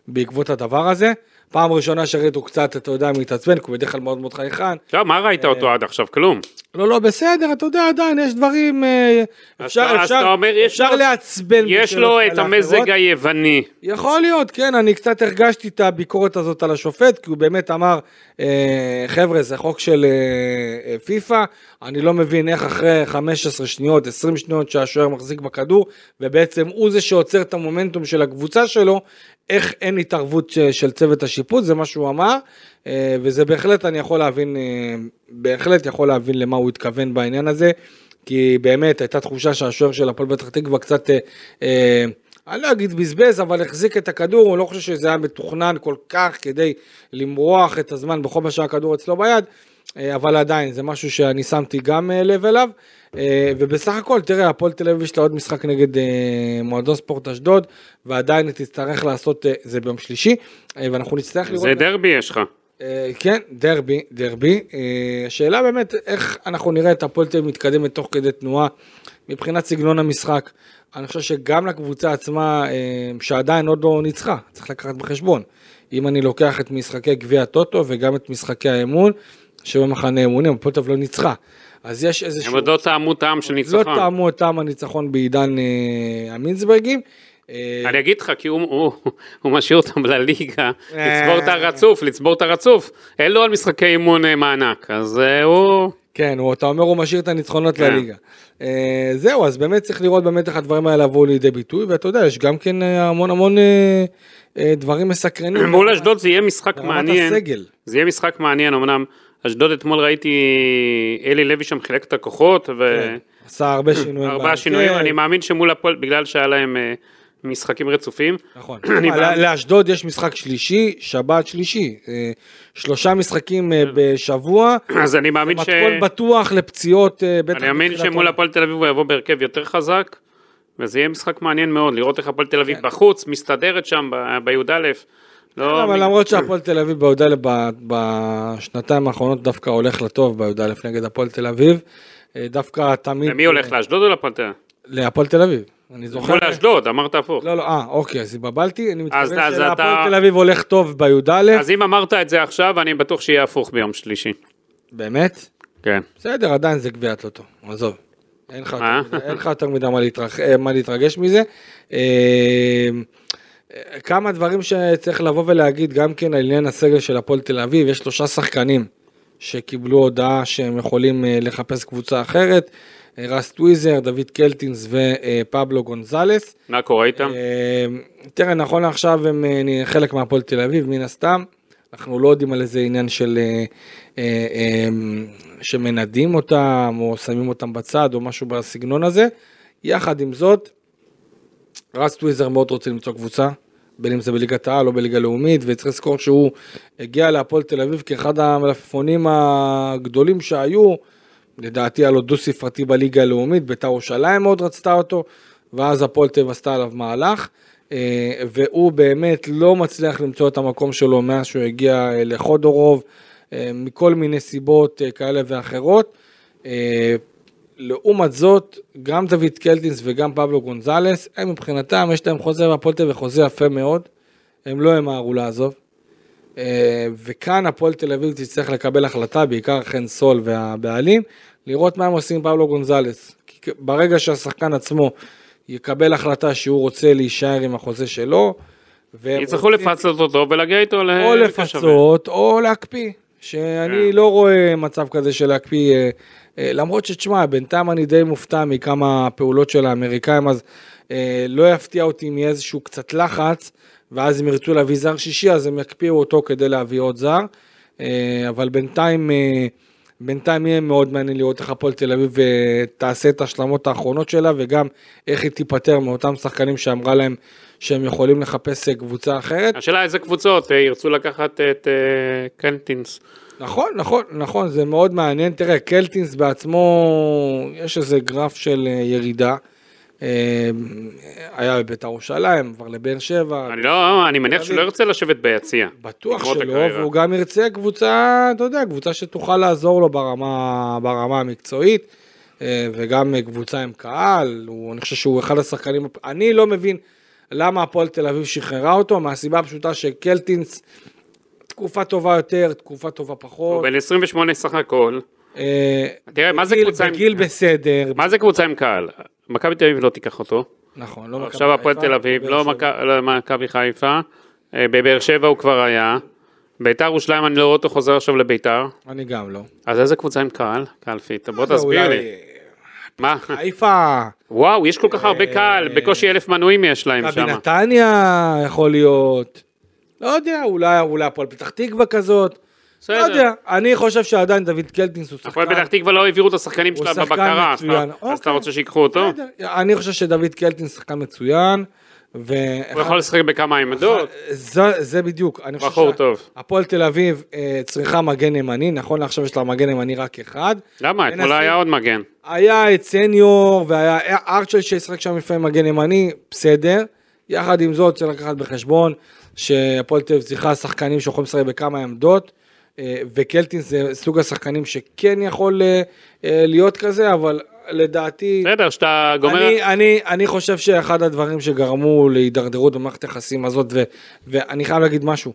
Speaker 2: בעקבות הדבר הזה. פעם ראשונה שראיתו קצת, אתה יודע, מתעצבן, כי הוא בדרך כלל מאוד מאוד חייכן,
Speaker 3: טוב, מה ראית
Speaker 2: אה,
Speaker 3: אותו עד עכשיו? כלום.
Speaker 2: לא, לא, בסדר, אתה יודע, עדיין יש דברים... אה,
Speaker 3: אז
Speaker 2: אפשר,
Speaker 3: אתה- אז
Speaker 2: אפשר,
Speaker 3: אתה אומר, יש
Speaker 2: אפשר
Speaker 3: לו-
Speaker 2: לעצבן.
Speaker 3: יש
Speaker 2: כן, בשאלות
Speaker 3: לו
Speaker 2: כאלה
Speaker 3: את המזג
Speaker 2: אחרות.
Speaker 3: היווני.
Speaker 2: יכול להיות, כן, אני קצת הרגשתי את הביקורת הזאת על השופט, כי הוא באמת אמר, אה, חבר'ה, זה חוק של אה, אה, פיפא, אני לא מבין איך אחרי 15 שניות, 20 שניות שהשוער מחזיק בכדור, ובעצם הוא זה שעוצר את המומנטום של הקבוצה שלו, איך אין התערבות ש- של צוות השיפוט, זה מה שהוא אמר, אה, וזה בהחלט, אני יכול להבין, אה, בהחלט יכול להבין למה הוא התכוון בעניין הזה. כי באמת הייתה תחושה שהשוער של הפועל פתח תקווה קצת, אה, אה, אני לא אגיד בזבז, אבל החזיק את הכדור, הוא לא חושב שזה היה מתוכנן כל כך כדי למרוח את הזמן בכל מה שהכדור אצלו ביד, אה, אבל עדיין זה משהו שאני שמתי גם אה, לב אליו. אה, ובסך הכל, תראה, הפועל תל אביב יש לה עוד משחק נגד אה, מועדון ספורט אשדוד, ועדיין היא תצטרך לעשות אה, זה ביום שלישי, אה, ואנחנו נצטרך לראות...
Speaker 3: זה דרבי יש לך.
Speaker 2: אה, כן, דרבי, דרבי. אה, השאלה באמת, איך אנחנו נראה את הפועל תל אביב מתקדמת תוך כדי תנועה מבחינת סגנון המשחק. אני חושב שגם לקבוצה עצמה, אה, שעדיין עוד לא ניצחה, צריך לקחת בחשבון. אם אני לוקח את משחקי גביע הטוטו וגם את משחקי האמון, שבמחנה אמונים, הפועל תל אביב לא ניצחה. אז יש איזשהו...
Speaker 3: הם עוד לא טעמו טעם של
Speaker 2: לא
Speaker 3: ניצחון.
Speaker 2: טעמו את טעם הניצחון בעידן אה, המינצברגים. אה,
Speaker 3: אני אגיד לך, כי הוא- הוא הוא משאיר אותם לליגה,
Speaker 2: אה.
Speaker 3: לצבור את הרצוף, לצבור את הרצוף. אין לו על משחקי אימון אה, מענק, אז אה, הוא...
Speaker 2: כן, הוא, אתה אומר הוא משאיר את הניצחונות
Speaker 3: כן.
Speaker 2: לליגה. אה, זהו, אז באמת צריך לראות באמת איך הדברים האלה יבואו לידי ביטוי, ואתה יודע, יש גם כן אה, המון המון אה, אה, דברים מסקרנים.
Speaker 3: מול אשדוד זה יהיה משחק
Speaker 2: ברמת
Speaker 3: מעניין.
Speaker 2: הסגל.
Speaker 3: זה יהיה משחק מעניין, אמנם אשדוד אתמול ראיתי אלי לוי שם חילק את הכוחות,
Speaker 2: כן, עשה הרבה שינויים. כן,
Speaker 3: וארבעה
Speaker 2: בהרכב.
Speaker 3: שינויים, אני מאמין שמול הפועל, בגלל שהיה להם אה, משחקים רצופים.
Speaker 2: נכון.
Speaker 3: אני
Speaker 2: אה,
Speaker 3: מאמין.
Speaker 2: לא- לאשדוד יש משחק שלישי, שבת שלישי. אה, שלושה משחקים אה, בשבוע,
Speaker 3: אז כן. אני מאמין ש...
Speaker 2: מתכון בטוח לפציעות, אה, בטח.
Speaker 3: אני מאמין
Speaker 2: בתחילת
Speaker 3: שמול
Speaker 2: העונה.
Speaker 3: הפועל תל אביב הוא יבוא בהרכב יותר חזק, וזה יהיה משחק מעניין מאוד, לראות איך הפועל תל אביב
Speaker 2: כן.
Speaker 3: בחוץ, מסתדרת שם ב- בי"א. לא,
Speaker 2: אבל
Speaker 3: מ-
Speaker 2: למרות שהפועל תל אביב בי"א ב- בשנתיים האחרונות דווקא הולך לטוב בי"א נגד הפועל תל אביב. אה, דווקא תמיד...
Speaker 3: למי הולך, לאשדוד או לפועל תל אביב?
Speaker 2: להפועל תל אביב. אני זוכר...
Speaker 3: מול אשדוד, אמרת הפוך.
Speaker 2: לא, לא, אה, אוקיי, אז התבלבלתי. אני מתכוון
Speaker 3: אז- אז
Speaker 2: שלהפועל
Speaker 3: אתה-
Speaker 2: תל אביב הולך טוב בי"א.
Speaker 3: אז אם אמרת את זה עכשיו, אני בטוח שיהיה הפוך ביום שלישי.
Speaker 2: באמת?
Speaker 3: כן.
Speaker 2: בסדר, עדיין זה גביע הטוטו, עזוב. אין לך
Speaker 3: מה?
Speaker 2: יותר מדי- אין לך יותר מדי מה להתרח- אה, מה להתרגש מזה. אה, אה, כמה דברים שצריך לבוא ולהגיד גם כן על עניין הסגל של הפועל תל אביב, יש שלושה שחקנים שקיבלו הודעה שהם יכולים אה, לחפש קבוצה אחרת, אה, רס טוויזר, דוד קלטינס ופבלו גונזלס.
Speaker 3: מה קורה איתם?
Speaker 2: אה, תראה, נכון לעכשיו הם אה, נ- חלק מהפועל תל אביב, מן הסתם. אנחנו לא יודעים על איזה עניין של... אה, אה, אה, שמנדים אותם, או שמים אותם בצד, או משהו בסגנון הזה. יחד עם זאת, רס טוויזר מאוד רוצה למצוא קבוצה, בין אם זה בליגת העל או בליגה לאומית, וצריך לזכור שהוא הגיע להפועל תל אביב כאחד המלפפונים הגדולים שהיו, לדעתי היה לו דו ספרתי בליגה הלאומית, ביתר ירושלים מאוד רצתה אותו, ואז הפועל תל אביב עשתה עליו מהלך, אה, והוא באמת לא מצליח למצוא את המקום שלו מאז שהוא הגיע אה, לחודורוב, אה, מכל מיני סיבות אה, כאלה ואחרות. אה, לעומת זאת, גם דוד קלטינס וגם פבלו גונזלס, הם מבחינתם, יש להם חוזה והפועל תל אביב חוזה יפה מאוד, הם לא ימהרו לעזוב. אה, וכאן הפועל תל אביב תצטרך לקבל החלטה, בעיקר חן סול והבעלים, לראות מה הם עושים עם פבלו גונזלס. כי כ- ברגע שהשחקן עצמו יקבל החלטה שהוא רוצה להישאר עם החוזה שלו, והם
Speaker 3: יצטרכו
Speaker 2: אה, רוצים-
Speaker 3: לפצות אותו ולהגיע איתו ל...
Speaker 2: או
Speaker 3: לקשווה.
Speaker 2: לפצות, או להקפיא. שאני לא רואה מצב כזה של להקפיא, אה, אה, למרות שתשמע, בינתיים אני די מופתע מכמה פעולות של האמריקאים, אז אה, לא יפתיע אותי אם יהיה איזשהו קצת לחץ, ואז אם ירצו להביא זר שישי, אז הם יקפיאו אותו כדי להביא עוד זר. אה, אבל בינתיים, אה, בינתיים יהיה מאוד מעניין לראות איך הפועל תל אביב אה, תעשה את ההשלמות האחרונות שלה, וגם איך היא תיפטר מאותם שחקנים שאמרה להם שהם יכולים לחפש אה, קבוצה אחרת.
Speaker 3: השאלה איזה קבוצות אה, ירצו לקחת את אה, קנטינס.
Speaker 2: נכון, נכון, נכון, זה מאוד מעניין. תראה, קלטינס בעצמו, יש איזה גרף של אה, ירידה. אה, היה בביתר ירושלים, עבר לבאר שבע,
Speaker 3: אני לא, אני מניח שהוא לא ירצה לשבת ביציע.
Speaker 2: בטוח
Speaker 3: לגמור את
Speaker 2: שלא,
Speaker 3: הקריירה.
Speaker 2: והוא גם ירצה קבוצה, אתה יודע, קבוצה שתוכל לעזור לו ברמה, ברמה המקצועית, אה, וגם אה, קבוצה עם קהל, הוא, אני חושב שהוא אחד השחקנים, הפ- אני לא מבין למה הפועל תל אביב שחררה אותו, מהסיבה הפשוטה שקלטינס, תקופה טובה יותר, תקופה טובה
Speaker 3: הוא
Speaker 2: פחות.
Speaker 3: בן 28 סך הכל.
Speaker 2: אה,
Speaker 3: תראה, מה זה
Speaker 2: בגיל-
Speaker 3: קבוצה עם-
Speaker 2: בגיל בסדר.
Speaker 3: מה זה קבוצה עם קהל? מכבי תל אביב לא תיקח אותו.
Speaker 2: נכון, לא מכבי
Speaker 3: עכשיו הפועל
Speaker 2: חיפה,
Speaker 3: תל אביב,
Speaker 2: באר
Speaker 3: לא
Speaker 2: שבע.
Speaker 3: מכ- לא מכבי חיפה. אה, בבאר שבע הוא כבר היה. ביתר ירושלים אני לא רואה אותו חוזר עכשיו לביתר.
Speaker 2: אני גם לא. אה,
Speaker 3: אז איזה קבוצה עם קהל? קלפית, בוא תסביר
Speaker 2: אולי-
Speaker 3: לי. מה?
Speaker 2: חיפה,
Speaker 3: וואו, יש כל כך
Speaker 2: אה,
Speaker 3: הרבה קהל, בקושי אלף מנויים יש להם
Speaker 2: מכבי
Speaker 3: שם.
Speaker 2: נתניה יכול להיות. לא יודע, אולי אולי הפועל פתח תקווה כזאת. לא
Speaker 3: בסדר.
Speaker 2: יודע, אני חושב שעדיין דוד קלטינס הוא שחקן.
Speaker 3: הפועל פתח תקווה לא העבירו את השחקנים
Speaker 2: הוא
Speaker 3: שלה
Speaker 2: שחקן
Speaker 3: בבקרה, אז
Speaker 2: מצוין.
Speaker 3: אתה- אז
Speaker 2: אוקיי.
Speaker 3: אתה רוצה שיקחו אותו?
Speaker 2: בסדר, אני חושב שדוד קלטינס שחקן מצוין, אה,
Speaker 3: הוא יכול לשחק בכמה עמדות,
Speaker 2: זה, זה בדיוק, אני
Speaker 3: בחור
Speaker 2: חושב
Speaker 3: טוב.
Speaker 2: שהפועל תל אביב אה, צריכה מגן ימני, נכון לעכשיו יש לה מגן ימני רק אחד.
Speaker 3: למה?
Speaker 2: מנסים-
Speaker 3: אתמול היה עוד מגן.
Speaker 2: היה את סניור והיה ארצ'ל שישחק שם לפעמים מגן ימני, בסדר. יחד עם זאת צריך לקחת בחשבון שהפועל תל אביב צריכה שחקנים שיכולים לשחק בכמה עמדות. אה, וקלטין זה סוג השחקנים שכן יכול אה, אה, להיות כזה, אבל לדעתי...
Speaker 3: בסדר, שאתה גומר...
Speaker 2: אני, אני, אני חושב שאחד הדברים שגרמו להידרדרות במערכת היחסים הזאת, ו, ואני חייב להגיד משהו,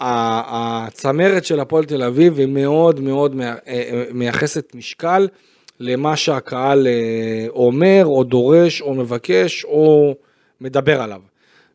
Speaker 2: ה- הצמרת של הפועל תל אביב היא מאוד מאוד מיה- אה, מייחסת משקל למה שהקהל אה, אומר, או דורש, או מבקש, או מדבר עליו.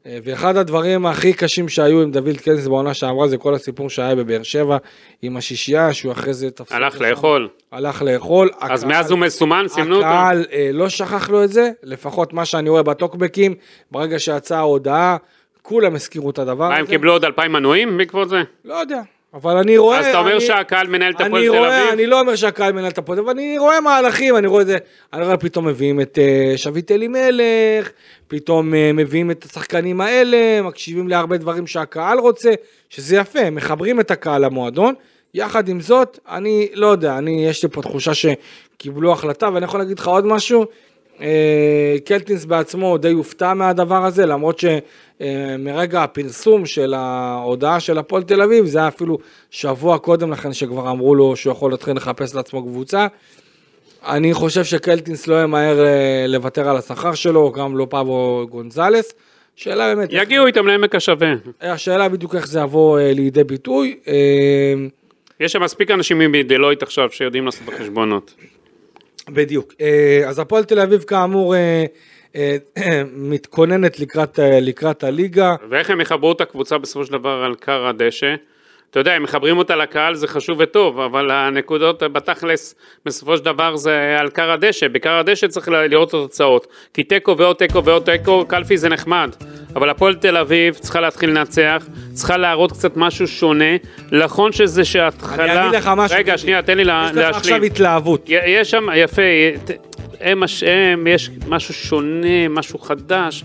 Speaker 2: אה, ואחד הדברים הכי קשים שהיו עם דוד קלס בעונה שעברה זה כל הסיפור שהיה בבאר שבע עם השישייה, שהוא אחרי זה תפסיק.
Speaker 3: הלך לאכול.
Speaker 2: הלך לאכול.
Speaker 3: אז
Speaker 2: הקהל-
Speaker 3: מאז הוא מסומן, סימנו אותו.
Speaker 2: הקהל אה, לא שכח לו את זה, לפחות מה שאני רואה בטוקבקים, ברגע שיצאה ההודעה, כולם הזכירו את הדבר
Speaker 3: מה,
Speaker 2: הזה.
Speaker 3: הם קיבלו עוד 2,000 מנויים בעקבות זה?
Speaker 2: לא יודע, אבל אני רואה...
Speaker 3: אז אתה אומר
Speaker 2: אני-
Speaker 3: שהקהל מנהל את הפועל
Speaker 2: אני
Speaker 3: תל
Speaker 2: רואה,
Speaker 3: אביב?
Speaker 2: אני לא אומר שהקהל מנהל את הפועל, אבל אני רואה מהלכים, אני רואה את זה, אני רואה פתאום מביאים את אה, שביט אלימלך, פתאום אה, מביאים את השחקנים האלה, מקשיבים להרבה דברים שהקהל רוצה, שזה יפה, מחברים את הקהל למועדון. יחד עם זאת, אני לא יודע, אני, יש לי פה תחושה שקיבלו החלטה, ואני יכול להגיד לך עוד משהו, אה, קלטינס בעצמו די הופתע מהדבר הזה, למרות שמרגע הפרסום של ההודעה של הפועל תל אביב, זה היה אפילו שבוע קודם לכן שכבר אמרו לו שהוא יכול להתחיל לחפש לעצמו קבוצה. אני חושב שקלטינס לא ימהר אה, לוותר על השכר שלו, גם לא פאבו גונזלס. שאלה באמת, איך-
Speaker 3: יגיעו איתם לעמק השווה.
Speaker 2: השאלה בדיוק איך זה יבוא אה, לידי ביטוי. אה,
Speaker 3: יש שם מספיק אנשים מדלויט עכשיו שיודעים לעשות את החשבונות.
Speaker 2: בדיוק. אה, אז הפועל תל אביב כאמור אה, אה, מתכוננת לקראת, אה, לקראת הליגה.
Speaker 3: ואיך הם יחברו את הקבוצה בסופו של דבר על כר הדשא? אתה יודע, הם מחברים אותה לקהל זה חשוב וטוב, אבל הנקודות בתכלס, בסופו של דבר זה על כר הדשא. בכר הדשא צריך ל- לראות את התוצאות. כי תיקו ועוד תיקו ועוד תיקו, קלפי זה נחמד. אבל הפועל תל אביב צריכה להתחיל לנצח, צריכה להראות קצת משהו שונה. נכון שזה שההתחלה...
Speaker 2: אני אגיד לך משהו,
Speaker 3: רגע,
Speaker 2: דודי.
Speaker 3: שנייה, תן לי לה-
Speaker 2: יש לך
Speaker 3: להשלים.
Speaker 2: עכשיו התלהבות.
Speaker 3: י- יש שם, יפה, י- ת- הם השם, יש משהו שונה, משהו חדש,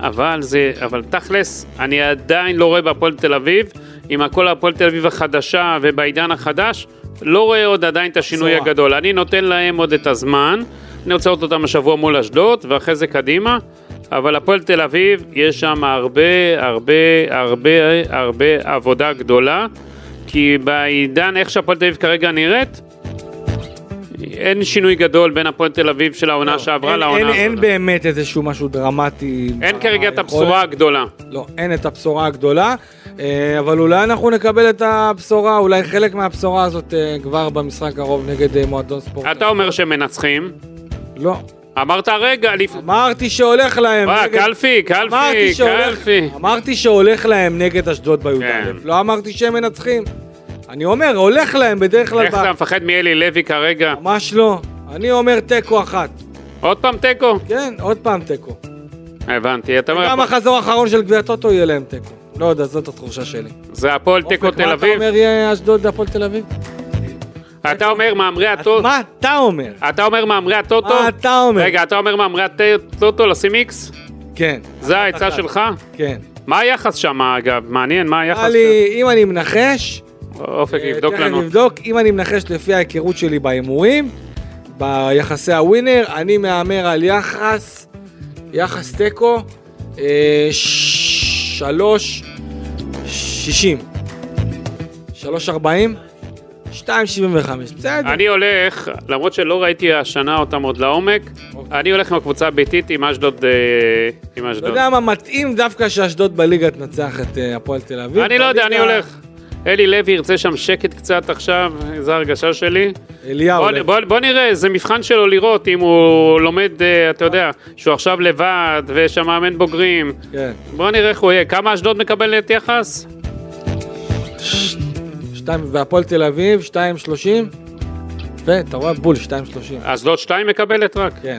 Speaker 3: אבל זה, אבל תכלס, אני עדיין לא רואה בהפועל תל אביב, עם הכל הפועל תל אביב החדשה ובעידן החדש, לא רואה עוד עדיין את השינוי
Speaker 2: בשורה.
Speaker 3: הגדול. אני נותן להם עוד את הזמן, אני רוצה לראות אותם השבוע מול אשדוד, ואחרי זה קדימה. אבל הפועל תל אביב, יש שם הרבה, הרבה, הרבה, הרבה עבודה גדולה, כי בעידן, איך שהפועל תל אביב כרגע נראית, אין שינוי גדול בין הפועל תל אביב של העונה שעברה
Speaker 2: לא. אין-
Speaker 3: לעונה
Speaker 2: אין-
Speaker 3: הזאת.
Speaker 2: אין אה, באמת איזשהו משהו דרמטי.
Speaker 3: אין כרגע את
Speaker 2: ביכולת.
Speaker 3: הבשורה הגדולה.
Speaker 2: לא, אין את הבשורה הגדולה, אה, אבל אולי אנחנו נקבל את הבשורה, אולי חלק מהבשורה הזאת אה, כבר במשחק הקרוב נגד אה, מועדון ספורט.
Speaker 3: אתה אומר שהם מנצחים,
Speaker 2: לא.
Speaker 3: אמרת רגע, לפ-
Speaker 2: אמרתי שהולך להם.
Speaker 3: אה,
Speaker 2: נגד-
Speaker 3: קלפי,
Speaker 2: אמרתי
Speaker 3: קלפי,
Speaker 2: שהולך-
Speaker 3: קלפי.
Speaker 2: אמרתי שהולך להם נגד אשדוד בי"א,
Speaker 3: כן.
Speaker 2: לא אמרתי שהם מנצחים. אני אומר, הולך להם בדרך כלל,
Speaker 3: איך
Speaker 2: ב-
Speaker 3: אתה מפחד מאלי לוי כרגע?
Speaker 2: ממש לא. אני אומר תיקו אחת.
Speaker 3: עוד פעם תיקו?
Speaker 2: כן, עוד פעם תיקו.
Speaker 3: הבנתי, אתה
Speaker 2: גם
Speaker 3: אומר,
Speaker 2: החזור האחרון של גביע טוטו יהיה להם תיקו. לא יודע, זאת התחושה שלי.
Speaker 3: זה הפועל תיקו
Speaker 2: אופק,
Speaker 3: תל
Speaker 2: מה אתה
Speaker 3: אביב?
Speaker 2: אומר יהיה אשדוד והפועל תל אביב?
Speaker 3: אתה אומר מהמרי הטוטו?
Speaker 2: מה אתה אומר?
Speaker 3: אתה אומר מהמרי הטוטו?
Speaker 2: מה אתה אומר?
Speaker 3: רגע, אתה אומר מהמרי הטוטו לשים איקס?
Speaker 2: כן,
Speaker 3: זה העצה שלך?
Speaker 2: כן.
Speaker 3: מה היחס שם אגב? מעניין, מה היחס?
Speaker 2: נראה לי, אם אני מנחש,
Speaker 3: אופק
Speaker 2: אה,
Speaker 3: יבדוק
Speaker 2: תכף
Speaker 3: לנו.
Speaker 2: נבדוק, אם אני מנחש לפי ההיכרות שלי בהימורים, ביחסי הווינר, אני מהמר על יחס, יחס תיקו, אה, ש- שלוש, שישים. שלוש ארבעים? שתיים שבעים וחמש, בסדר.
Speaker 3: אני הולך, למרות שלא ראיתי השנה אותם עוד לעומק,
Speaker 2: אוקיי.
Speaker 3: אני הולך עם הקבוצה הביתית עם אשדוד. אה, עם
Speaker 2: אתה
Speaker 3: אשדוד.
Speaker 2: לא יודע מה, מתאים דווקא שאשדוד בליגה תנצח את אה, הפועל תל אביב.
Speaker 3: אני לא יודע, אני
Speaker 2: בליגה-
Speaker 3: הולך. אלי לוי ירצה שם שקט קצת עכשיו, זו הרגשה שלי.
Speaker 2: אליהו.
Speaker 3: בוא, בוא, בוא נראה, זה מבחן שלו לראות אם הוא לומד, אה, אתה יודע, שהוא עכשיו לבד ויש שם מאמן בוגרים.
Speaker 2: כן.
Speaker 3: בוא נראה איך הוא יהיה. כמה אשדוד מקבלת יחס?
Speaker 2: ש- שתיים, והפועל תל אביב, שתיים שלושים. יפה, אתה רואה בול, שתיים שלושים.
Speaker 3: אשדוד 2 מקבלת רק.
Speaker 2: כן.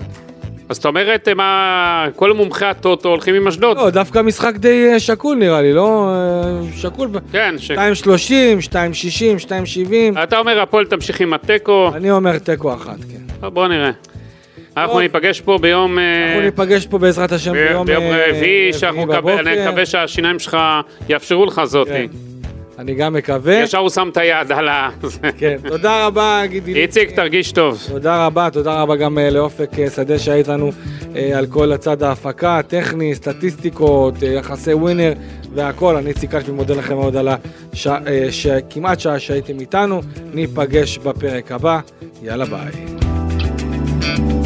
Speaker 3: אז זאת אומרת, אה, מה, כל מומחי הטוטו הולכים עם אשדוד.
Speaker 2: לא, דווקא משחק די אה, שקול נראה לי, לא? אה, שקול. ב-
Speaker 3: כן, ש...
Speaker 2: 2.30, 2.60, 2.70,
Speaker 3: אתה אומר הפועל תמשיך עם התיקו,
Speaker 2: אני אומר תיקו אחת, כן.
Speaker 3: בוא נראה. אנחנו ניפגש פה ביום... אה,
Speaker 2: אנחנו ניפגש פה בעזרת השם
Speaker 3: ב-
Speaker 2: ביום
Speaker 3: ביום
Speaker 2: אה,
Speaker 3: רביעי, שאנחנו נקווה-
Speaker 2: בבוקר.
Speaker 3: אני מקווה שהשיניים שלך יאפשרו לך
Speaker 2: כן.
Speaker 3: זאתי.
Speaker 2: אני גם מקווה.
Speaker 3: ישר הוא שם את היד על ה...
Speaker 2: כן. תודה רבה, גידי.
Speaker 3: איציק, תרגיש טוב.
Speaker 2: תודה רבה, תודה רבה גם אה, לאופק אה, שדה שהיה איתנו אה, על כל הצד ההפקה, הטכני, סטטיסטיקות, אה, יחסי ווינר והכל. אני איציק קשמי מודה לכם מאוד על הכמעט שעה שהייתם איתנו. ניפגש בפרק הבא. יאללה ביי.